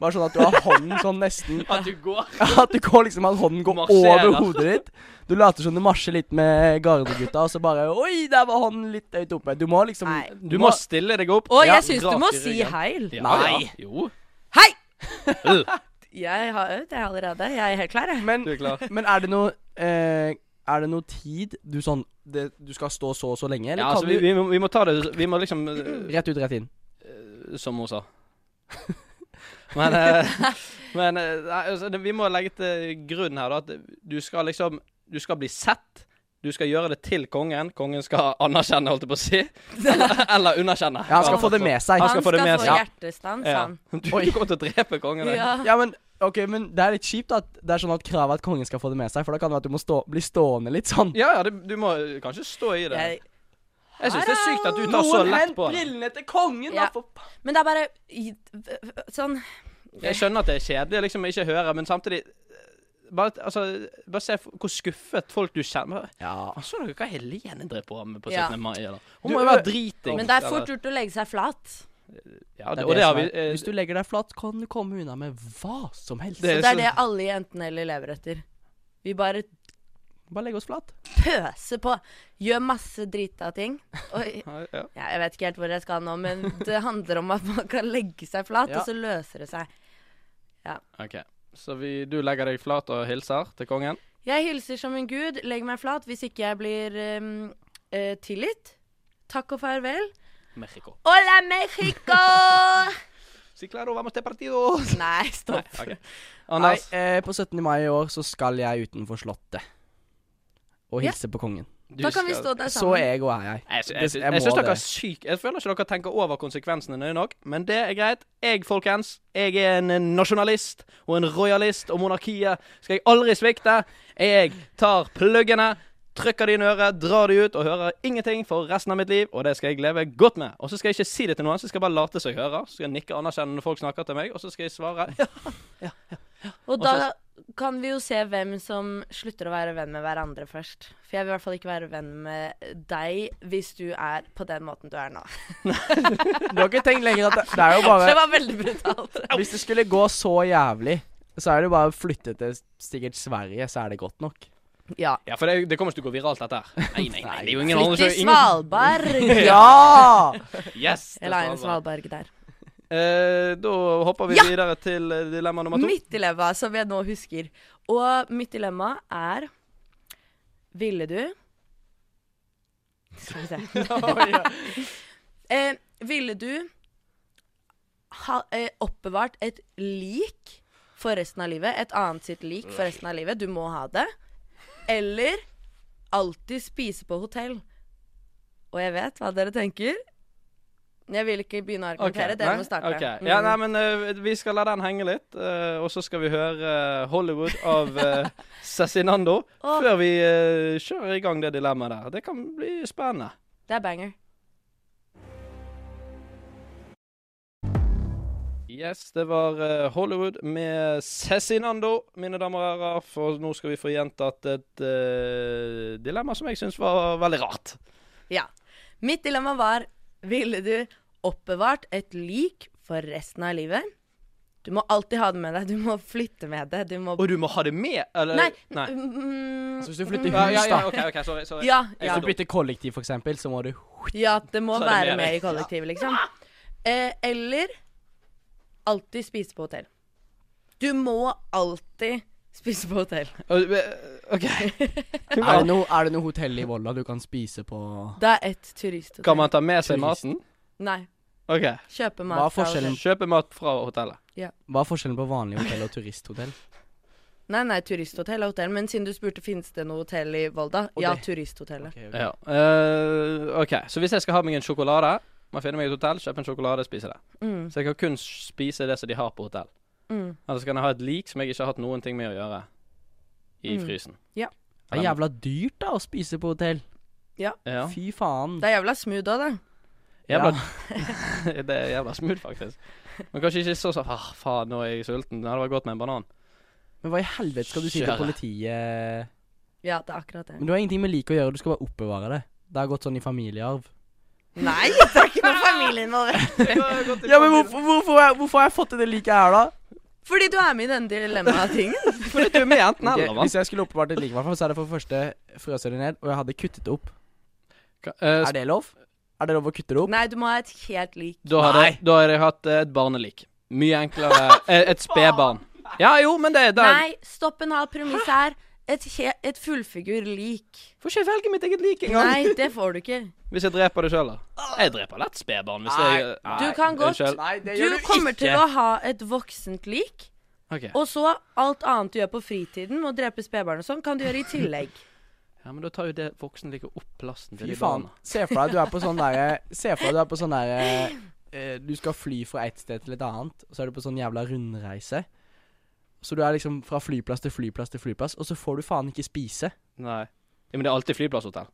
Speaker 3: Bare sånn at du har hånden sånn nesten
Speaker 1: At du går
Speaker 3: At du går liksom at hånden går
Speaker 1: Marsjerer.
Speaker 3: over hodet ditt. Du later som du marsjer litt med gardegutta, og så bare Oi, der var hånden litt høyt oppe. Du må liksom
Speaker 2: Nei.
Speaker 1: Du må stille deg opp.
Speaker 2: Å,
Speaker 1: Ja,
Speaker 2: jeg syns du
Speaker 1: rak
Speaker 2: må
Speaker 1: i
Speaker 2: si
Speaker 1: ryggen.
Speaker 2: heil.
Speaker 1: Ja,
Speaker 3: Nei.
Speaker 1: Ja. Jo.
Speaker 2: Hei!
Speaker 1: Øh,
Speaker 2: Jeg har øvd, jeg allerede. Jeg er helt klar, jeg.
Speaker 3: Men,
Speaker 1: Du er klar.
Speaker 3: men er det noe eh, Er det noe tid du sånn det, Du skal stå så og så lenge, eller
Speaker 1: Ja, altså,
Speaker 3: kan
Speaker 1: vi,
Speaker 3: du
Speaker 1: vi, må, vi må ta det Vi må liksom øh,
Speaker 3: Rett ut, rett inn.
Speaker 1: som hun sa. Men, eh, men eh, nei, altså, det- vi må legge til grunn her da, at du skal liksom Du skal bli sett. Du skal gjøre det til kongen. Kongen skal anerkjenne, holdt jeg på å si. Eller, eller underkjenne.
Speaker 3: Ja, han skal få det med seg.
Speaker 1: Han skal få det med seg.
Speaker 2: hjertestans,
Speaker 1: Ja.
Speaker 2: han.
Speaker 1: Du kommer til å drepe kongen. jeg.
Speaker 2: Ja.
Speaker 3: Ja, men Ok, men det er litt kjipt at det er sånn at kravet er at kongen skal få det med seg, for da kan det være at du må stå, bli stående litt sånn.
Speaker 1: Ja, ja, det, du må kanskje stå i det.
Speaker 2: Jeg,
Speaker 1: Jeg syns det er sykt at du tar så lett på det.
Speaker 3: brillene til kongen,
Speaker 2: da, Ja.
Speaker 3: for
Speaker 2: men det er bare i- v- v- Sånn
Speaker 1: Jeg skjønner at det er kjedelig å liksom ikke høre, men samtidig eh, bare, altså, bare se f- hvor skuffet folk du kjenner
Speaker 3: Ja.
Speaker 1: Bare, Så dere hva Helene drev på med på 17.
Speaker 2: Ja.
Speaker 1: mai? Eller?
Speaker 3: Du-
Speaker 1: Hun må jo være driting.
Speaker 2: Men det er
Speaker 1: eller-
Speaker 2: fort gjort å legge seg flat.
Speaker 1: Ja, det,
Speaker 3: Det er
Speaker 1: og
Speaker 3: det
Speaker 1: det har
Speaker 3: som
Speaker 1: vi
Speaker 3: er-
Speaker 1: eh,
Speaker 3: Hvis du legger deg flat, kan du komme unna med hva som helst.
Speaker 1: Det
Speaker 2: Så
Speaker 1: er
Speaker 2: det er
Speaker 1: så-
Speaker 2: det alle jentene eller lever etter. Vi bare
Speaker 3: Bare legge oss flat.
Speaker 2: pøser på. Gjør masse drita ting. Og
Speaker 1: Ja, ja.
Speaker 2: ja, jeg vet ikke helt hvor jeg skal nå, men det handler om at man kan legge seg flat,
Speaker 3: Ja.
Speaker 2: og så løser det seg.
Speaker 1: OK. Så vi, du legger deg flat og hilser til kongen?
Speaker 2: Jeg hilser som en gud, legg meg flat hvis ikke jeg blir ehm, eh, tilgitt. Takk og farvel.
Speaker 1: Mexico.
Speaker 2: Hola, Mexico!
Speaker 1: Si claro, vamos til partido!
Speaker 2: Nei, stopp.
Speaker 1: OK.
Speaker 3: Nei,
Speaker 1: Anders,
Speaker 3: eh, på 17. mai i år så skal jeg utenfor Slottet og
Speaker 2: Ja.
Speaker 3: hilse på kongen.
Speaker 1: du
Speaker 2: eh, Da kan vi
Speaker 1: skal-
Speaker 2: stå der
Speaker 3: Så
Speaker 2: sammen.
Speaker 3: ego er jeg.
Speaker 1: Jeg, sy-
Speaker 3: Det-
Speaker 1: jeg, sy-
Speaker 3: jeg
Speaker 1: jeg
Speaker 3: må
Speaker 1: syns dere er
Speaker 3: det.
Speaker 1: syke. Jeg føler ikke dere tenker over konsekvensene nøye nok, men det er greit. Jeg, folkens, jeg er en nasjonalist og en rojalist, og monarkiet skal jeg aldri svikte. Jeg tar pluggene, trykker de inn i øret, drar de ut og hører ingenting for resten av mitt liv, og det skal jeg leve godt med. Og så skal jeg ikke si det til noen, så skal jeg bare late som jeg hører. Så skal jeg nikke anerkjennende når folk snakker til meg, og så skal jeg svare. Ja,
Speaker 2: Og
Speaker 1: Og
Speaker 2: da,
Speaker 1: så-
Speaker 2: kan vi jo se hvem som slutter å være venn med hverandre først. For jeg vil i hvert fall ikke være venn med deg hvis du er på den måten du er nå.
Speaker 3: Du har ikke tenkt lenger at det, det er jo bare
Speaker 2: Det var veldig brutalt.
Speaker 3: Hvis det skulle gå så jævlig, så er det jo bare å flytte til sikkert Sverige, så er det godt nok.
Speaker 2: Ja.
Speaker 1: Ja, for det, det kommer ikke til å gå viralt, dette her. Nei, nei, nei, det er jo ingen andre
Speaker 2: Flytt til
Speaker 1: som- ingen-
Speaker 2: Svalbard.
Speaker 3: Ja!
Speaker 1: Yes! det er
Speaker 2: Jeg la inn
Speaker 1: Svalbard.
Speaker 2: Svalbard der.
Speaker 1: Eh, da hopper vi
Speaker 2: Ja!
Speaker 1: videre til eh, dilemma nummer to.
Speaker 2: Mitt dilemma, som jeg nå husker. Og mitt dilemma er Ville du Skal vi se.
Speaker 1: Oi, ja.
Speaker 2: Eh, ville du ha eh, oppbevart et lik for resten av livet? Et annet sitt lik for resten av livet? Du må ha det. Eller alltid spise på hotell. Og jeg vet hva dere tenker. Men Jeg vil ikke begynne å
Speaker 1: Ok,
Speaker 2: argumentere. Dere
Speaker 1: nei,
Speaker 2: må starte.
Speaker 1: ok.
Speaker 2: Mm.
Speaker 1: Ja, nei, men eh, vi skal la den henge litt, eh, og så skal vi høre eh, Hollywood av eh, Cezinando
Speaker 2: Åh.
Speaker 1: før vi eh, kjører i gang det dilemmaet der. Det kan bli spennende.
Speaker 2: Det er banger.
Speaker 1: Yes, det var eh, Hollywood med Cezinando, mine damer og herrer. For nå skal vi få gjentatt et eh, dilemma som jeg syns var veldig rart.
Speaker 2: Ja. Mitt dilemma var Ville du oppbevart et lik for resten av livet? Du må alltid ha det med deg. Du må flytte med det. Du må
Speaker 1: Og du må ha det med, eller?
Speaker 2: Nei.
Speaker 1: Nei.
Speaker 2: mm,
Speaker 3: Altså, hvis du flytter
Speaker 1: Ja,
Speaker 3: hus,
Speaker 1: ja,
Speaker 3: da.
Speaker 1: ja, OK, ok, sorry. sorry.
Speaker 2: Ja,
Speaker 1: Jeg
Speaker 2: ja.
Speaker 3: Hvis du bytter kollektiv, for eksempel, så må du
Speaker 2: ja, det må
Speaker 1: Så er det med
Speaker 2: være med i
Speaker 1: deg.
Speaker 2: kollektivet, liksom. Eh, eller alltid spise på hotell. Du må alltid spise på hotell.
Speaker 1: Og- eh, OK.
Speaker 3: er det, noe, er det noe hotell i Volda du kan spise på
Speaker 2: Det er et turisthotell.
Speaker 1: Kan man ta med seg maten?
Speaker 2: Nei.
Speaker 1: OK.
Speaker 2: Kjøpe
Speaker 3: Hva
Speaker 2: mat
Speaker 3: er forskjellen?
Speaker 2: hotell.
Speaker 1: Kjøpe mat fra hotellet.
Speaker 3: Hva er forskjellen på vanlig hotell og turisthotell?
Speaker 2: Nei, nei, turisthotell er hotell. Men siden du spurte finnes det noe hotell i Volda,
Speaker 3: Og
Speaker 2: ja,
Speaker 3: det-
Speaker 2: turisthotellet.
Speaker 1: Ja. Eh, OK, så hvis jeg skal ha meg en sjokolade, må jeg finne meg et hotell, kjøpe en sjokolade og spise det.
Speaker 2: Mm,
Speaker 1: Så jeg kan kun spise det som de har på hotell.
Speaker 2: mm.
Speaker 1: Eller så kan jeg ha et lik som jeg ikke har hatt noen ting med å gjøre, i
Speaker 2: Mm.
Speaker 1: frysen.
Speaker 2: Ja.
Speaker 3: Det er jævla dyrt, da, å spise på hotell.
Speaker 1: Ja.
Speaker 3: Fy faen.
Speaker 2: Det er jævla smooth òg, da.
Speaker 1: Jævla, det er jævla smooth, faktisk. Men kanskje ikke så sånn ah, faen, nå er jeg sulten. Det hadde vært godt med en banan.
Speaker 3: Men hva i helvete skal du si til
Speaker 1: Kjøre.
Speaker 3: politiet?
Speaker 2: Ja, det er akkurat det.
Speaker 3: Men du har ingenting med liket å gjøre, du skal bare oppbevare det. Det har gått sånn i familiearv.
Speaker 2: Nei, det er ikke noe familie involvert.
Speaker 3: Ja, men hvorfor, hvorfor, har jeg- hvorfor har jeg fått til det liket her, da?
Speaker 2: Fordi du er med i denne dilemmatingen.
Speaker 1: Fordi du er med enten
Speaker 3: Ok,
Speaker 1: eller, mann.
Speaker 3: hvis jeg skulle oppbevart et lik, i hvert fall, så er det for det første frøs det ned, og jeg hadde kuttet det opp.
Speaker 1: Eh,
Speaker 3: Er det lov? Er det lov å kutte det opp?
Speaker 2: Nei, du må ha et helt lik.
Speaker 1: da, hadde,
Speaker 3: Nei.
Speaker 1: da hadde jeg hatt eh, et barnelik. Mye enklere. eh, Et spedbarn. Ja, jo, men det, det
Speaker 2: Nei, stopp en halv premiss her. Et, he- et fullfigur-lik.
Speaker 1: Får ikke jeg velge mitt eget lik engang.
Speaker 2: Nei, det får du ikke.
Speaker 1: Hvis jeg dreper det sjøl, da. Jeg dreper lett spedbarn. Hvis jeg
Speaker 3: Ah. Nei.
Speaker 2: Du kan godt-
Speaker 1: Unnskyld.
Speaker 3: Nei, det
Speaker 2: Du kommer til å ha et voksent lik.
Speaker 1: Ok.
Speaker 2: Og så alt annet du gjør på fritiden, med å drepe spedbarn og sånn, kan du gjøre i tillegg.
Speaker 1: Ja, men da tar jo det voksenliket opp plassen til
Speaker 3: Fy
Speaker 1: de
Speaker 3: faen.
Speaker 1: barna.
Speaker 3: Se for deg du er på sånn derre Se for deg du er på sånn derre eh, Du skal fly fra et sted til et annet, og så er du på sånn jævla rundreise. Så du er liksom fra flyplass til flyplass til flyplass, og så får du faen ikke spise.
Speaker 1: Nei. Ja, men det er alltid flyplasshotell.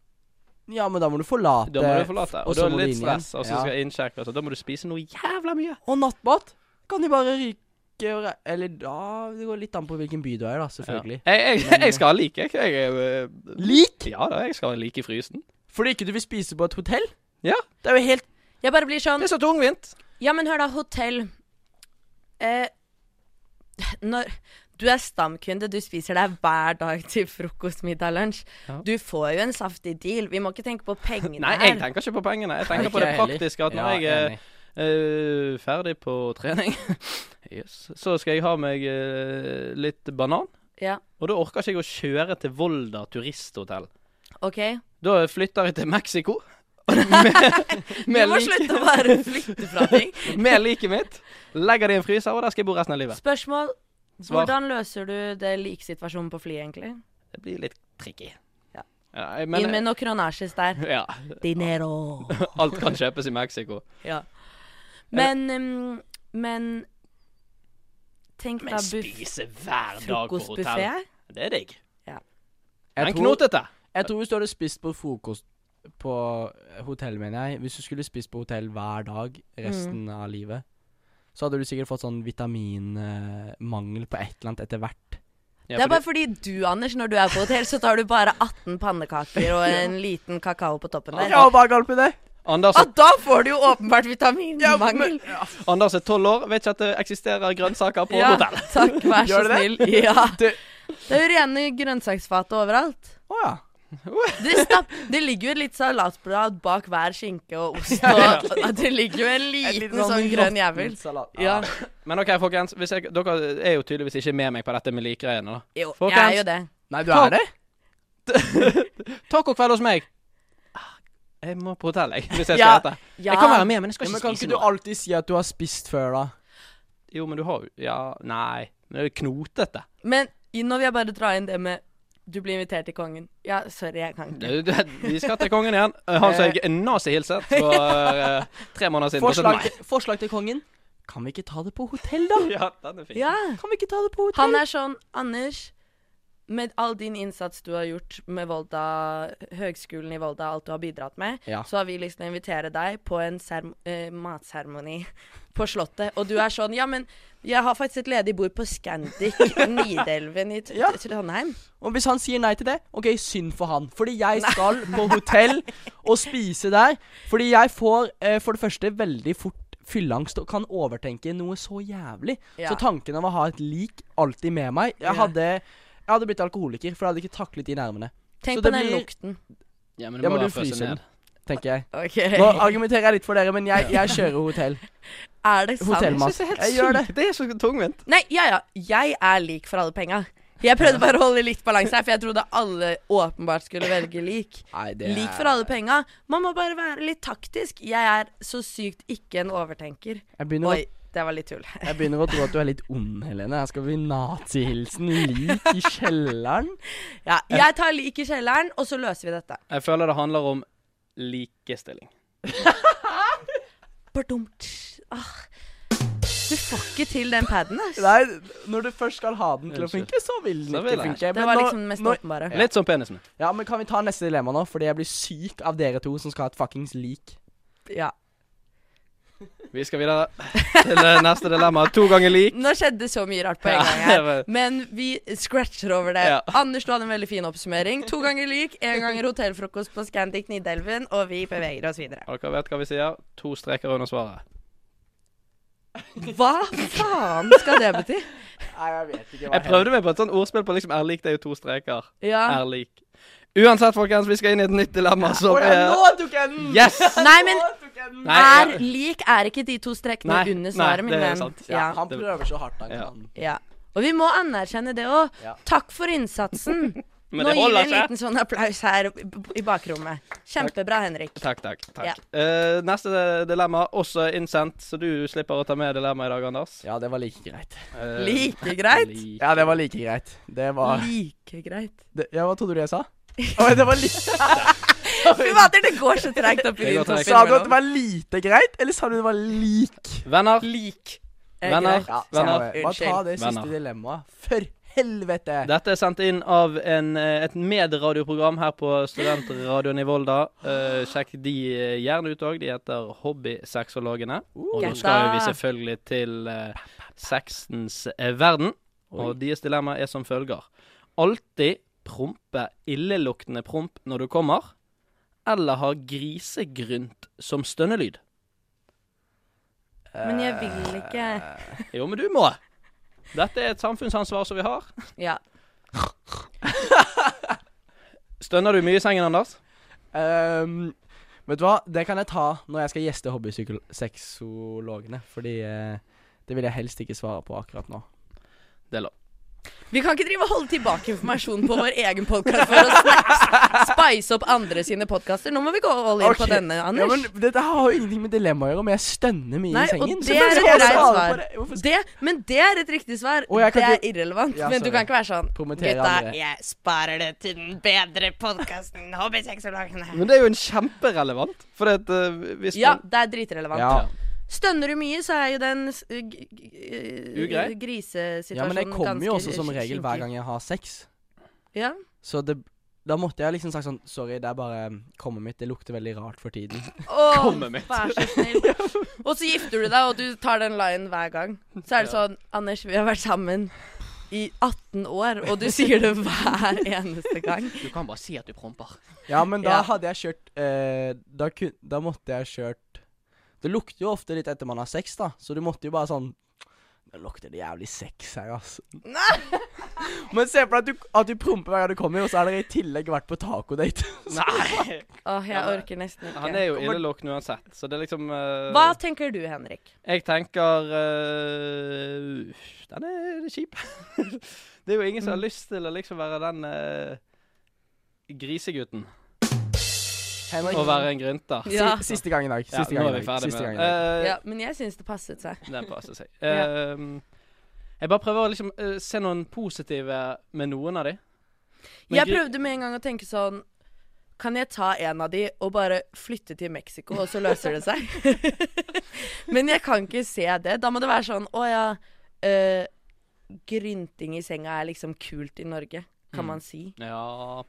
Speaker 3: Ja, men da må du forlate
Speaker 1: Da må du forlate. Og,
Speaker 3: og
Speaker 1: da
Speaker 3: så
Speaker 1: er
Speaker 3: må
Speaker 1: det
Speaker 3: du
Speaker 1: litt
Speaker 3: inn igjen.
Speaker 1: stress, og så
Speaker 3: Ja.
Speaker 1: skal jeg innsjekke, og så da må du spise noe jævla mye.
Speaker 3: Og nattmat kan de bare ryke og re... Eller da Det går litt an på hvilken by du er, i, da, selvfølgelig.
Speaker 1: Ja. Jeg, jeg, jeg skal ha lik, jeg. jeg er, øh,
Speaker 3: Lik!
Speaker 1: ja da, jeg skal ha lik i frysen.
Speaker 3: Fordi ikke du vil spise på et hotell?
Speaker 1: Ja.
Speaker 3: Det er jo helt
Speaker 2: Jeg bare blir sånn
Speaker 1: Det er så tungvint.
Speaker 2: Ja, men hør da, hotell. Eh, når du er stamkunde, du spiser deg hver dag til frokost, middag, lunsj.
Speaker 1: Ja.
Speaker 2: Du får jo en saftig deal. Vi må ikke tenke på pengene
Speaker 1: Nei, jeg
Speaker 2: her.
Speaker 1: tenker ikke på pengene. Jeg tenker på
Speaker 3: Ikke
Speaker 1: det
Speaker 3: jeg heller.
Speaker 1: praktiske. At når
Speaker 3: Ja,
Speaker 1: jeg eh, er
Speaker 3: enig.
Speaker 1: øh, ferdig på trening, yes, så skal jeg ha meg øh, litt banan.
Speaker 2: Ja,
Speaker 1: Og da orker ikke jeg å kjøre til Volda turisthotell.
Speaker 2: OK?
Speaker 1: Da flytter jeg til Mexico.
Speaker 2: Du
Speaker 1: med
Speaker 2: må
Speaker 1: lik-
Speaker 2: slutte å bare flykte fra ting.
Speaker 1: med liket mitt. Legger det i en fryser, og der skal jeg bo resten av livet.
Speaker 2: Spørsmål.
Speaker 1: Svar.
Speaker 2: Hvordan løser du det liksituasjonen på flyet, egentlig?
Speaker 1: Det blir litt tricky.
Speaker 2: Ja.
Speaker 1: jeg mener-
Speaker 2: Inn med noe kronasjes der.
Speaker 1: ja.
Speaker 2: Dinero.
Speaker 1: Alt kan kjøpes i Mexico.
Speaker 2: Ja. Men um, Men Tenk
Speaker 1: Men
Speaker 2: da buff...
Speaker 1: spise hver dag på hotell.
Speaker 2: Frokostbuffé?
Speaker 1: Det er digg.
Speaker 3: Jeg
Speaker 1: Men
Speaker 3: tror,
Speaker 1: knotete.
Speaker 3: jeg tror hvis du hadde spist på frokost på eh, hotell, mener jeg Hvis du skulle spist på hotell hver dag resten av eh, livet, så hadde du sikkert fått sånn vitaminmangel på et eller annet etter hvert.
Speaker 2: det er bare fordi du, Anders, når du er på hotell, så tar du bare 18 pannekaker og en liten kakao på toppen der.
Speaker 3: Jeg var bare galt med det.
Speaker 1: Anders,
Speaker 2: Og da får du jo åpenbart vitaminmangel.
Speaker 1: Anders er tolv år, vet ikke at det eksisterer grønnsaker på
Speaker 2: Ja,
Speaker 1: hotell.
Speaker 2: takk, vær så
Speaker 3: Gjør det
Speaker 2: snill. Ja.
Speaker 3: Du-
Speaker 2: Det er jo rene grønnsaksfatet overalt.
Speaker 3: Å ja.
Speaker 2: Det, stapp, det ligger jo et litt salatblad bak hver skinke og ost.
Speaker 1: Ja,
Speaker 2: Og, og det ligger jo en liten, sånn, grønn jævel.
Speaker 3: salat.
Speaker 2: Ja.
Speaker 1: Men OK, folkens. Hvis jeg, dere er jo tydeligvis ikke med meg på dette med likgreiene, da.
Speaker 2: Jo,
Speaker 1: Folkens.
Speaker 2: jeg er jo det.
Speaker 3: Nei, du er det?
Speaker 1: Tacokveld hos meg. Ah, Jeg må på hotell, jeg, hvis jeg skal
Speaker 3: Ja.
Speaker 1: dette.
Speaker 2: Ja.
Speaker 1: Jeg kan være med, men jeg skal
Speaker 3: Ja, men
Speaker 1: ikke
Speaker 3: kan
Speaker 1: spise
Speaker 3: ikke du
Speaker 1: noe.
Speaker 3: alltid si at du har spist før, da?
Speaker 1: Jo, men du har jo Ja, nei. Men det er jo knotete.
Speaker 2: Men i- nå vil jeg bare dra inn det med du blir invitert til kongen. Ja, sorry, jeg kan
Speaker 1: Du,
Speaker 2: ikke.
Speaker 1: du, vi skal til kongen igjen. Eh, Han som jeg nazihilset for eh, tre måneder siden. og så
Speaker 3: Forslag
Speaker 1: nei.
Speaker 3: til, forslag til kongen? Kan vi ikke ta det på hotell, da?
Speaker 1: Ja, den er fin.
Speaker 2: Ja.
Speaker 3: Kan vi ikke ta det på hotell?
Speaker 2: Han er sånn Anders, med all din innsats du har gjort med Volda, Høgskolen i Volda, alt du har bidratt med,
Speaker 3: Ja.
Speaker 2: så har vi lyst til å invitere deg på en serm eh, matseremoni på Slottet. Og du er sånn Ja, men jeg har faktisk et ledig bord på Scandic Nidelven i T-
Speaker 3: Ja.
Speaker 2: Trondheim.
Speaker 3: Og hvis han sier nei til det, OK, synd for han. Fordi jeg skal på hotell og spise der. Fordi jeg får eh, for det første veldig fort fylleangst og kan overtenke noe så jævlig.
Speaker 2: Ja.
Speaker 3: Så tanken om å ha et lik alltid med meg
Speaker 2: Ja.
Speaker 3: Jeg hadde, jeg hadde blitt alkoholiker, for jeg hadde ikke taklet de nervene,
Speaker 2: Tenk på
Speaker 3: Så det
Speaker 2: den
Speaker 3: blir-
Speaker 2: lukten.
Speaker 1: Ja, men
Speaker 3: Ja,
Speaker 1: du må
Speaker 3: men
Speaker 1: ja,
Speaker 3: du fryser den.
Speaker 1: ned.
Speaker 3: tenker jeg.
Speaker 2: OK.
Speaker 3: Nå argumenterer jeg litt for dere, men jeg, jeg kjører hotell.
Speaker 2: Er det sant?
Speaker 3: Hotellmat.
Speaker 1: Jeg synes det er helt
Speaker 3: Jeg gjør det.
Speaker 1: sykt. Det er så tungvint.
Speaker 2: Nei, ja ja. Jeg er lik for alle penga. Jeg prøvde bare å holde litt balanse her, for jeg trodde alle åpenbart skulle velge lik.
Speaker 3: Nei, det
Speaker 2: Lik for alle penga. Man må bare være litt taktisk. Jeg er så sykt ikke en overtenker.
Speaker 3: Jeg begynner,
Speaker 2: Oi,
Speaker 3: å,
Speaker 2: det var litt tull.
Speaker 3: jeg begynner å tro at du er litt ond, Helene. Her skal vi nazihilsen lik i kjelleren.
Speaker 2: Ja, jeg tar lik i kjelleren, og så løser vi dette.
Speaker 1: Jeg føler det handler om likestilling.
Speaker 2: Bardumt. Ah. Du får ikke til den paden, ass.
Speaker 3: Nei, når du først skal ha den til å
Speaker 1: Unnskyld.
Speaker 3: funke, så vil den
Speaker 1: Så
Speaker 3: ikke
Speaker 1: vil den.
Speaker 3: funke.
Speaker 2: Det
Speaker 3: Men
Speaker 2: var
Speaker 3: nå-
Speaker 2: liksom det mest
Speaker 3: nå-
Speaker 2: åpenbare.
Speaker 1: Litt som penisen min.
Speaker 3: Ja, men kan vi ta neste dilemma nå? Fordi jeg blir syk av dere to som skal ha et fuckings lik.
Speaker 2: Ja.
Speaker 1: Vi skal videre til eh, neste dilemma. To ganger lik.
Speaker 2: Nå skjedde så mye rart på en
Speaker 1: Ja,
Speaker 2: gang
Speaker 1: jeg
Speaker 2: her.
Speaker 1: vet.
Speaker 2: Men vi scratcher over det.
Speaker 1: Ja.
Speaker 2: Anders, du hadde en veldig fin oppsummering. To ganger lik, én ganger hotellfrokost på Scandic Nidelven, og vi beveger oss videre.
Speaker 1: Dere vet hva vi sier. To streker under svaret.
Speaker 2: Hva faen skal det bety?
Speaker 3: Nei, jeg vet ikke
Speaker 1: Jeg prøvde meg på et sånt ordspill på liksom er lik, det er jo to streker.
Speaker 2: Ja.
Speaker 1: Er lik. Uansett, folkens, vi skal inn i et nytt dilemma som er
Speaker 3: Nå tok jeg den!
Speaker 1: Yes!
Speaker 2: Nei, men
Speaker 3: Nå tok jeg den!
Speaker 1: Nei,
Speaker 2: er
Speaker 1: ja.
Speaker 2: lik er ikke de to strekene
Speaker 1: Nei,
Speaker 2: under
Speaker 1: nei,
Speaker 2: svaret, min
Speaker 1: det er
Speaker 2: venn.
Speaker 1: sant.
Speaker 2: Ja.
Speaker 3: Han prøver så hardt han
Speaker 1: Ja.
Speaker 3: kan.
Speaker 2: ja. Og vi må anerkjenne det òg.
Speaker 3: Ja.
Speaker 2: Takk for innsatsen.
Speaker 1: Men
Speaker 2: Nå
Speaker 1: det
Speaker 2: gir vi
Speaker 1: holder
Speaker 2: en
Speaker 1: ikke.
Speaker 2: liten sånn applaus her b- b- i bakrommet. Kjempebra, Henrik.
Speaker 1: Takk, takk. takk.
Speaker 2: Ja.
Speaker 1: Eh, neste dilemma, også innsendt, så du slipper å ta med dilemma i dag, Anders.
Speaker 3: Ja, det var like greit.
Speaker 1: Eh,
Speaker 2: Like greit.
Speaker 1: lik.
Speaker 3: Ja, det var like greit. Det var
Speaker 2: Like greit.
Speaker 3: det, Ja, hva trodde du jeg sa? Oi, det var li
Speaker 2: Fy fader, det går så tregt oppi
Speaker 1: Det går
Speaker 2: din topp
Speaker 1: tregt.
Speaker 3: Sa du at
Speaker 2: innimellom.
Speaker 3: det var lite greit, eller sa du det var lik?
Speaker 1: Venner,
Speaker 2: Lik. er
Speaker 1: venner,
Speaker 2: greit.
Speaker 3: Ja,
Speaker 1: venner.
Speaker 3: samme det. Bare ta det siste
Speaker 1: Venner.
Speaker 3: dilemmaet. For helvete!
Speaker 1: Dette er sendt inn av en, eh, et medradioprogram her på Studentradioen i Volda. Eh, sjekk de eh, gjerne ut òg. De heter Hobbysexologene. Og nå
Speaker 2: Gjetta.
Speaker 1: skal vi selvfølgelig til eh, sexens eh, verden. Og deres dilemma er som følger. Alltid prompe illeluktende promp når du kommer, eller ha grisegrynt som stønnelyd.
Speaker 2: Men jeg vil ikke
Speaker 3: Eh,
Speaker 1: Jo, men du må. Dette er et samfunnsansvar som vi har.
Speaker 2: Ja.
Speaker 1: Stønner du mye i sengen, Anders?
Speaker 3: Ehm, vet du hva, det kan jeg ta når jeg skal gjeste hobbysexologene. Fordi eh, det vil jeg helst ikke svare på akkurat nå.
Speaker 1: Det er lov.
Speaker 2: Vi kan ikke drive og holde tilbake informasjon på vår egen podkast for å sna- spice opp andre sine podkaster. Nå må vi gå all in på
Speaker 3: Ok.
Speaker 2: denne, Anders.
Speaker 3: Ja, men Dette her har jo ingenting med dilemma å gjøre, men jeg stønner mye
Speaker 2: Nei,
Speaker 3: i sengen.
Speaker 2: og
Speaker 3: så
Speaker 2: det
Speaker 3: hvorfor
Speaker 2: er
Speaker 3: skal
Speaker 2: et
Speaker 3: jeg
Speaker 2: greit
Speaker 3: svare på
Speaker 2: svar.
Speaker 3: det? Hvorfor skal-
Speaker 2: Det, men det er et riktig svar.
Speaker 3: Og jeg kan
Speaker 2: det er
Speaker 3: ikke-
Speaker 2: irrelevant.
Speaker 3: Ja,
Speaker 2: men du
Speaker 3: sorry.
Speaker 2: kan ikke være sånn
Speaker 3: Promotere
Speaker 2: Dette
Speaker 3: andre.
Speaker 2: Jeg sparer det til den bedre podkasten Hobbysexologene.
Speaker 1: Men det er jo en kjemperelevant. For det at, eh, hvis
Speaker 2: Ja,
Speaker 1: man,
Speaker 2: det er dritrelevant.
Speaker 3: Ja.
Speaker 2: Stønner du mye, så er jo den s- g- g- g-
Speaker 1: Ugrei.
Speaker 2: grisesituasjonen
Speaker 3: ja, men det kommer jo også
Speaker 2: ganske
Speaker 3: som regel hver
Speaker 2: skinkig.
Speaker 3: gang jeg har sex.
Speaker 2: Ja.
Speaker 3: Så det, da måtte jeg liksom sagt sånn Sorry, det er bare kommet mitt. Det lukter veldig rart for tiden.
Speaker 2: Åh,
Speaker 1: Kommet mitt.
Speaker 2: Vær så snill. Og så gifter du deg, og du tar den linen hver gang. Så er det
Speaker 1: Ja.
Speaker 2: sånn Anders, vi har vært sammen i 18 år, og du sier det hver eneste gang.
Speaker 1: Du kan bare si at du promper.
Speaker 3: Ja, men da
Speaker 2: Ja.
Speaker 3: hadde jeg kjørt eh, da, kun, da måtte jeg kjørt Det lukter jo ofte litt etter man har sex, da, så du måtte jo bare sånn Nå lukter det jævlig sex her, altså. men se for deg at du, at du promper hver gang du kommer, og så har dere i tillegg vært på tacodate.
Speaker 1: Nei!
Speaker 2: Åh, jeg
Speaker 1: Ja, men-
Speaker 2: orker nesten ikke.
Speaker 1: Han er jo innelukkende uansett, så det er liksom eh,
Speaker 2: Hva tenker du, Henrik?
Speaker 1: Jeg tenker eh, Den er den er kjip. det er jo ingen som
Speaker 3: Mm.
Speaker 1: har lyst til å liksom være den eh, grisegutten.
Speaker 3: Henrik,
Speaker 1: Å være en grynter.
Speaker 3: si,
Speaker 2: Ja.
Speaker 3: siste gang i dag.
Speaker 1: Ja,
Speaker 3: Siste
Speaker 1: nå
Speaker 3: gang
Speaker 1: er vi
Speaker 3: i dag.
Speaker 1: ferdig
Speaker 3: Siste gang
Speaker 1: med
Speaker 3: i dag.
Speaker 1: Eh,
Speaker 2: Ja, men jeg syns det passet seg.
Speaker 1: Den passer seg.
Speaker 2: Ja.
Speaker 1: Ehm, jeg bare prøver å liksom eh, se noen positive med noen av de. Men
Speaker 2: Jeg
Speaker 1: gri-
Speaker 2: prøvde med en gang å tenke sånn Kan jeg ta en av de og bare flytte til Mexico, og så løser det seg? Men jeg kan ikke se det. Da må det være sånn Å ja. eh, grynting i senga er liksom kult i Norge,
Speaker 1: Mm.
Speaker 2: kan man si.
Speaker 1: Ja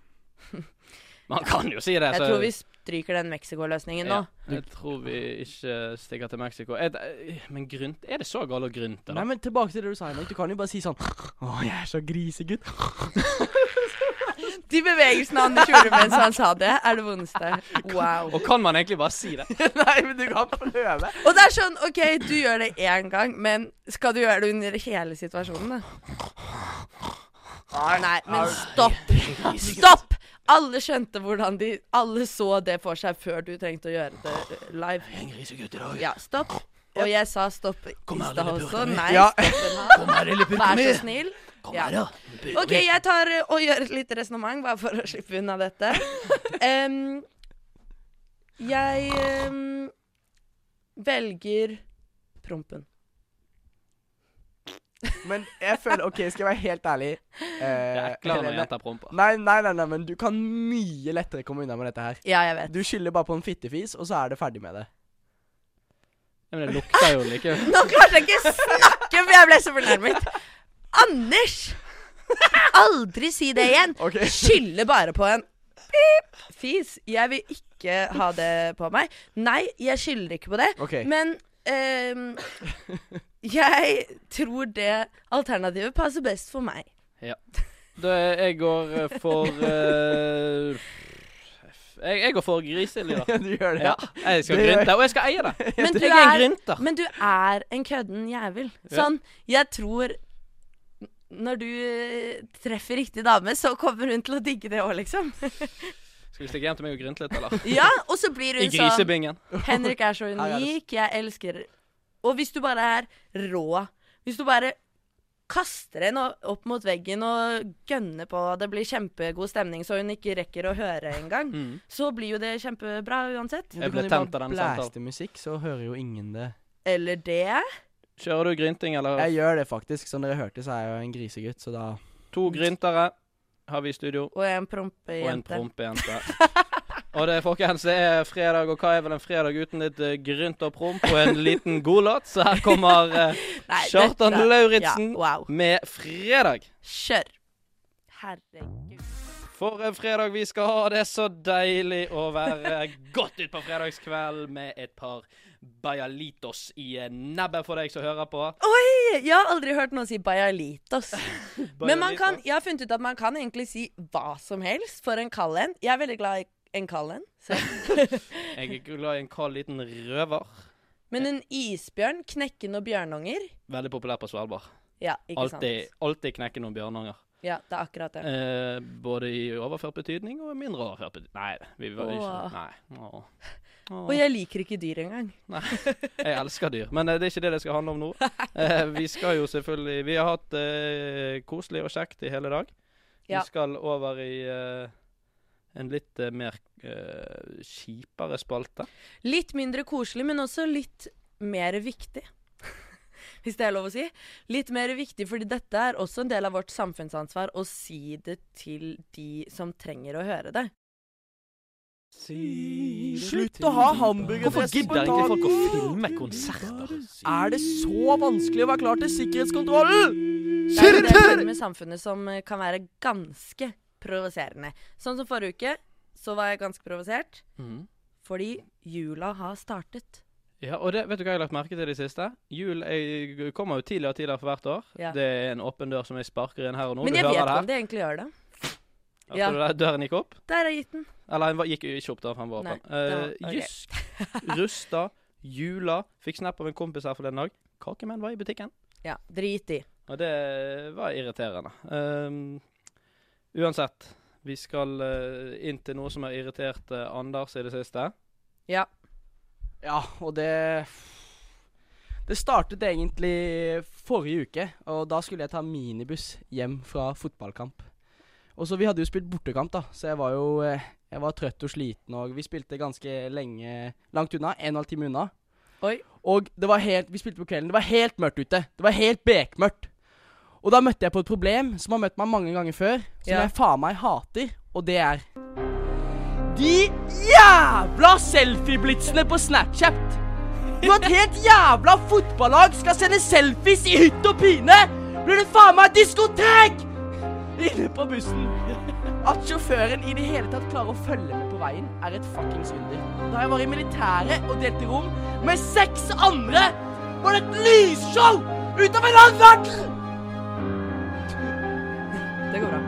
Speaker 1: Man kan jo si det.
Speaker 2: Jeg
Speaker 1: så-
Speaker 2: tror vi stryker den Mexico-løsningen
Speaker 1: ja,
Speaker 2: nå.
Speaker 1: Jeg tror vi ikke stikker til Mexico. Er det, men grynt Er det så galt å grynte,
Speaker 3: Nei,
Speaker 1: da?
Speaker 3: men tilbake til det du sa, Henrik. Du kan jo bare si sånn Å, jeg er så grisegutt.
Speaker 2: De bevegelsene Anders gjorde mens han sa det, er det vondeste. Wow.
Speaker 1: Og kan man egentlig bare si det?
Speaker 3: Nei, men du kan prøve.
Speaker 2: Og det er sånn, OK, du gjør det én gang, men skal du gjøre det under hele situasjonen, da? Nei, men stopp. Stopp! Alle skjønte hvordan de Alle så det for seg før du trengte å gjøre det eh, live.
Speaker 1: En grisegutt i dag.
Speaker 2: Ja, stopp. Og jeg sa stopp i
Speaker 1: Kom her,
Speaker 2: stad
Speaker 1: lille
Speaker 2: også.
Speaker 1: purken min.
Speaker 2: Nei,
Speaker 3: Ja.
Speaker 2: stopp den her.
Speaker 1: Kom her, lille purken
Speaker 2: Vær så
Speaker 1: min.
Speaker 2: snill.
Speaker 1: Kom
Speaker 2: Ja.
Speaker 1: her, da. Purken
Speaker 2: OK,
Speaker 1: min.
Speaker 2: jeg tar eh, og gjør et lite resonnement, bare for å slippe unna dette. Em, jeg em, velger prompen.
Speaker 3: Men jeg føler OK, skal jeg være helt ærlig
Speaker 1: Det
Speaker 3: eh,
Speaker 1: er eklere når
Speaker 3: Helene.
Speaker 1: jenter promper.
Speaker 3: Nei, nei, nei, nei, men du kan mye lettere komme unna med dette her.
Speaker 2: Ja, jeg vet.
Speaker 3: Du skylder bare på en fittefis, og så er det ferdig med det.
Speaker 1: Ja, Men det lukter jo like
Speaker 2: Nå klarte jeg ikke snakke, for jeg ble så fornærmet. Anders! Aldri si det igjen.
Speaker 3: Ok.
Speaker 2: Skylder bare på en pip fis. Jeg vil ikke ha det på meg. Nei, jeg skylder ikke på det.
Speaker 3: Ok.
Speaker 2: Men ehm, jeg tror det alternativet passer best for meg.
Speaker 1: Da jeg går eh, for eh, jeg, jeg går for griselyd, da.
Speaker 3: du gjør det,
Speaker 1: Ja,
Speaker 3: ja.
Speaker 1: jeg skal
Speaker 3: Det gjør jeg.
Speaker 1: grynte, og jeg skal eie det.
Speaker 2: Men du
Speaker 1: Jeg er en
Speaker 2: er,
Speaker 1: grynter.
Speaker 2: men du er en kødden jævel.
Speaker 1: Ja.
Speaker 2: Sånn, jeg tror Når du eh, treffer riktig dame, så kommer hun til å digge det òg, liksom.
Speaker 1: Skal vi stikke hjem til meg og grynte litt, eller?
Speaker 2: Ja, og så blir
Speaker 1: I
Speaker 2: hun sånn
Speaker 1: grisebingen.
Speaker 2: Henrik er så
Speaker 3: Her er det-
Speaker 2: unik, jeg elsker Og hvis du bare er rå Hvis du bare kaster henne opp mot veggen og gønner på, det blir kjempegod stemning så hun ikke rekker å høre engang,
Speaker 1: Mm.
Speaker 2: så blir jo det kjempebra uansett.
Speaker 1: Jeg ble tent av den samtalen.
Speaker 3: Blæste musikk, så hører jo ingen det.
Speaker 2: Eller det.
Speaker 1: Kjører du grynting, eller?
Speaker 3: Jeg gjør det faktisk. Som dere hørte, så er jeg jo en grisegutt, så da
Speaker 1: To gryntere har vi i studio,
Speaker 2: Og
Speaker 1: og
Speaker 2: en
Speaker 1: en
Speaker 2: prompejente.
Speaker 1: prompejente. Og det, folkens, det er fredag, og hva er vel en fredag uten litt eh, grynt og promp og en liten godlåt? Så her kommer eh,
Speaker 2: Nei,
Speaker 1: Kjartan
Speaker 2: dette-
Speaker 1: Lauritzen
Speaker 2: Ja, wow.
Speaker 1: med 'Fredag'.
Speaker 2: Kjør. Herregud.
Speaker 1: For en fredag vi skal ha. Det er så deilig å være godt utpå fredagskveld med et par bajalitos i eh, nebbet for deg som hører på.
Speaker 2: Oi! Jeg har aldri hørt noen si bajalitos. Men man kan,
Speaker 1: Bajalitos.
Speaker 2: jeg har funnet ut at man kan egentlig si hva som helst for en kald en. Jeg er veldig glad i en kald en. så-
Speaker 1: Jeg er glad i en kald liten røver.
Speaker 2: Men en isbjørn, knekken og bjørnunger
Speaker 1: Veldig populær på Svalbard.
Speaker 2: Ja, ikke
Speaker 1: Alltid
Speaker 2: sant?
Speaker 1: alltid knekke noen bjørnunger.
Speaker 2: Ja, det er akkurat det.
Speaker 1: Eh, både i overført betydning og mindre overført betydning. Nei, vi var
Speaker 2: Åh.
Speaker 1: ikke Nei. Åh. Åh.
Speaker 2: Og jeg liker ikke dyr engang.
Speaker 1: Jeg elsker dyr, men eh, det er ikke det det skal handle om nå. Eh, vi skal jo selvfølgelig Vi har hatt eh, koselig og kjekt i hele dag.
Speaker 2: Ja.
Speaker 1: Vi skal over i eh, en litt eh, mer eh, kjipere spalte.
Speaker 2: Litt mindre koselig, men også litt mer viktig. Hvis det er lov å si. Litt mer viktig, fordi dette er også en del av vårt samfunnsansvar å si det til de som trenger å høre det.
Speaker 3: Slutt å ha hamburger
Speaker 1: Hvorfor
Speaker 3: forresten på
Speaker 1: gidder ikke folk å
Speaker 3: dagen?
Speaker 1: filme konserter?
Speaker 3: Er det så vanskelig å være klar til sikkerhetskontrollen?
Speaker 2: Det er jo det som er med samfunnet som eh, kan være ganske provoserende. Sånn som forrige uke, så var jeg ganske provosert
Speaker 1: Mhm.
Speaker 2: fordi jula har startet.
Speaker 1: Ja, og det, vet du hva jeg har lagt merke til i det siste? Jul jeg kommer jo tidligere og tidligere for hvert år.
Speaker 2: Ja.
Speaker 1: Det er en åpen dør som jeg sparker inn her og nå.
Speaker 2: Men
Speaker 1: du
Speaker 2: jeg vet
Speaker 1: hører det
Speaker 2: ikke om
Speaker 1: her.
Speaker 2: de egentlig gjør det.
Speaker 1: Hørte
Speaker 2: ja.
Speaker 1: du det? Døren gikk opp.
Speaker 2: Der har jeg gitt den.
Speaker 1: Eller den var- gikk jo ikke opp da, for den var
Speaker 2: Nei,
Speaker 1: åpen. Eh,
Speaker 2: det var- ok.
Speaker 1: Jysk, Rusta, Jula. Fikk snap av en kompis her forleden dag. Kakemenn var i butikken.
Speaker 2: Ja, drit i.
Speaker 1: Og det var irriterende. Ehm, uansett, vi skal eh, inn til noe som har irritert eh, Anders i det siste.
Speaker 2: Ja.
Speaker 3: Ja, og det Det startet egentlig forrige uke, og da skulle jeg ta minibuss hjem fra fotballkamp. Og så Vi hadde jo spilt bortekamp, da, så jeg var jo eh, jeg var trøtt og sliten. Og vi spilte ganske lenge langt unna. En og en halv time unna.
Speaker 2: Oi.
Speaker 3: Og det var helt, vi spilte på kvelden. Det var helt mørkt ute. Det var helt bekmørkt. Og da møtte jeg på et problem som har møtt meg mange ganger før, som
Speaker 2: Ja.
Speaker 3: jeg faen meg hater, og det er De jævla selfieblitsene på Snapchat! Når et helt jævla fotballag skal sende selfies i hytt og pine, blir det faen meg diskotek inne på bussen. At sjåføren i det hele tatt klarer å følge med på veien, er et fuckings under. Da jeg var i militæret og delte rom med seks andre, var det et lysshow utover land verden!
Speaker 2: Det går bra.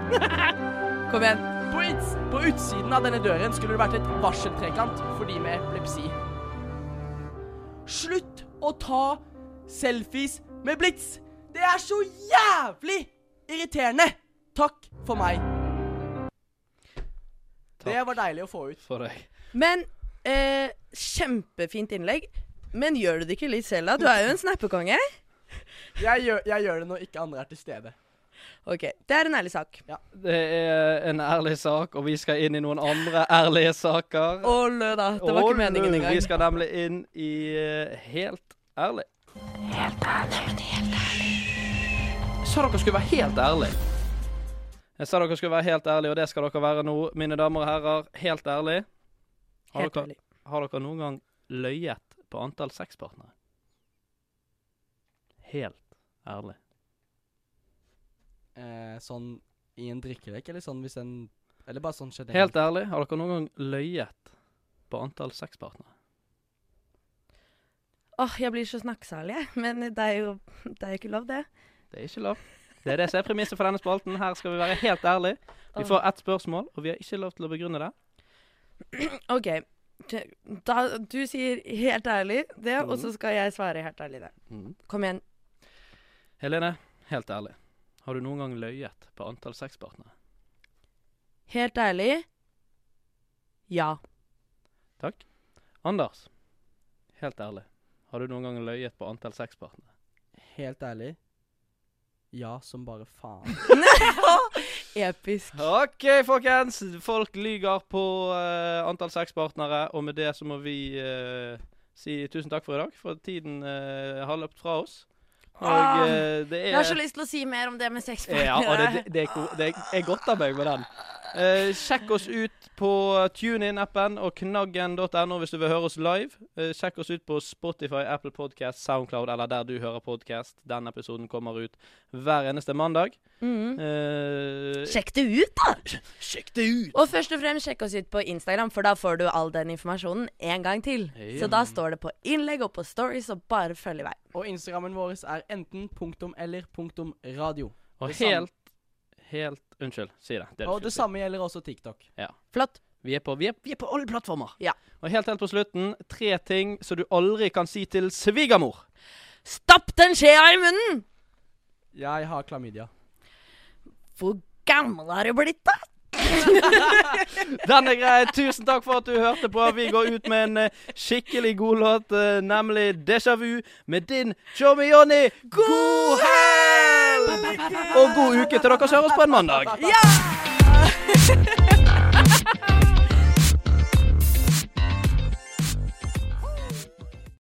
Speaker 2: Kom igjen.
Speaker 3: På, uts på utsiden av denne døren skulle det vært et varseltrekant for de med epilepsi. Slutt å ta selfies med blits! Det er så jævlig irriterende! Takk for meg. Det var deilig å få ut.
Speaker 1: For deg.
Speaker 2: Men eh, kjempefint innlegg. Men gjør du det ikke litt selv, da? Du er jo en snappekonge.
Speaker 3: Jeg gjør, jeg gjør det når ikke andre er til stede.
Speaker 2: OK. Det er en ærlig sak.
Speaker 1: Det er en ærlig sak, og vi skal inn i noen andre ærlige saker.
Speaker 2: Å, lø, da. Det var
Speaker 1: Og
Speaker 2: ikke meningen
Speaker 1: nå,
Speaker 2: engang.
Speaker 1: Vi skal nemlig inn i eh, Helt ærlig. Sa dere skulle være helt ærlig. Jeg sa dere skulle være helt ærlig, og det skal dere være nå, mine damer og herrer. Helt ærlig. Har
Speaker 2: Helt
Speaker 1: dere,
Speaker 2: ærlig.
Speaker 1: har dere noen gang løyet på antall sexpartnere? Helt ærlig.
Speaker 3: sånn i en drikkelek, eller sånn hvis en Eller bare sånn generelt.
Speaker 1: Helt ærlig, har dere noen gang løyet på antall sexpartnere?
Speaker 2: Åh, jeg blir så snakksalig, jeg. Men det er jo det er jo ikke lov, det.
Speaker 1: Det er ikke lov. Det er det som er premisset for denne spalten. Her skal vi være helt ærlige. Vi får ett spørsmål, og vi har ikke lov til å begrunne det.
Speaker 2: OK. Da, du sier helt ærlig det, og
Speaker 1: Mhm.
Speaker 2: så skal jeg svare helt ærlig det. Kom igjen.
Speaker 1: Helene, helt ærlig. Har du noen gang løyet på antall sexpartnere?
Speaker 2: Helt ærlig ja.
Speaker 1: Takk. Anders, helt ærlig. Har du noen gang løyet på antall sexpartnere?
Speaker 3: Helt ærlig. Ja, som bare faen.
Speaker 2: Episk.
Speaker 1: OK, folkens. Folk lyver på eh, antall sexpartnere, og med det så må vi eh, si tusen takk for i dag, for tiden eh, har løpt fra oss. Og
Speaker 2: Ah,
Speaker 1: eh, det er
Speaker 2: Jeg har så lyst til å si mer om det med sexpartnere.
Speaker 1: Ja, og det, det, det, er ko- det er- jeg godter meg med den. Eh, sjekk oss ut på TuneIn-appen og knaggen.no hvis du vil høre oss live. Eh, sjekk oss ut på Spotify, Apple Podcast, Soundcloud eller der du hører podkast. Den episoden kommer ut hver eneste mandag.
Speaker 2: Mhm.
Speaker 1: Eh,
Speaker 2: Sjekk det ut, da!
Speaker 1: sjekk det ut!
Speaker 2: Og først og fremst sjekk oss ut på Instagram, for da får du all den informasjonen en gang til.
Speaker 1: Ja.
Speaker 2: Så da står det på innlegg og på stories, og bare følg i vei.
Speaker 3: Og Instagrammen vår er enten punktum eller punktum radio.
Speaker 1: Og
Speaker 3: Det samme-
Speaker 1: helt, helt Unnskyld, si det. det, du
Speaker 3: Og
Speaker 1: skulle
Speaker 3: det
Speaker 1: si.
Speaker 3: samme gjelder også TikTok.
Speaker 2: Flott.
Speaker 1: Vi er, på, vi, er, vi er på alle plattformer.
Speaker 2: Ja.
Speaker 1: Og helt helt på slutten, tre ting som du aldri kan si til svigermor.
Speaker 2: Stapp den skjea i munnen!
Speaker 3: Jeg har klamydia.
Speaker 2: Hvor gammel har du blitt, da?
Speaker 1: Den er grei. Tusen takk for at du hørte på. Vi går ut med en eh, skikkelig god låt, eh, nemlig Déjà vu med din Tjommi Jonny. God helg! Og god uke til dere som hører oss på en mandag.
Speaker 2: Ja!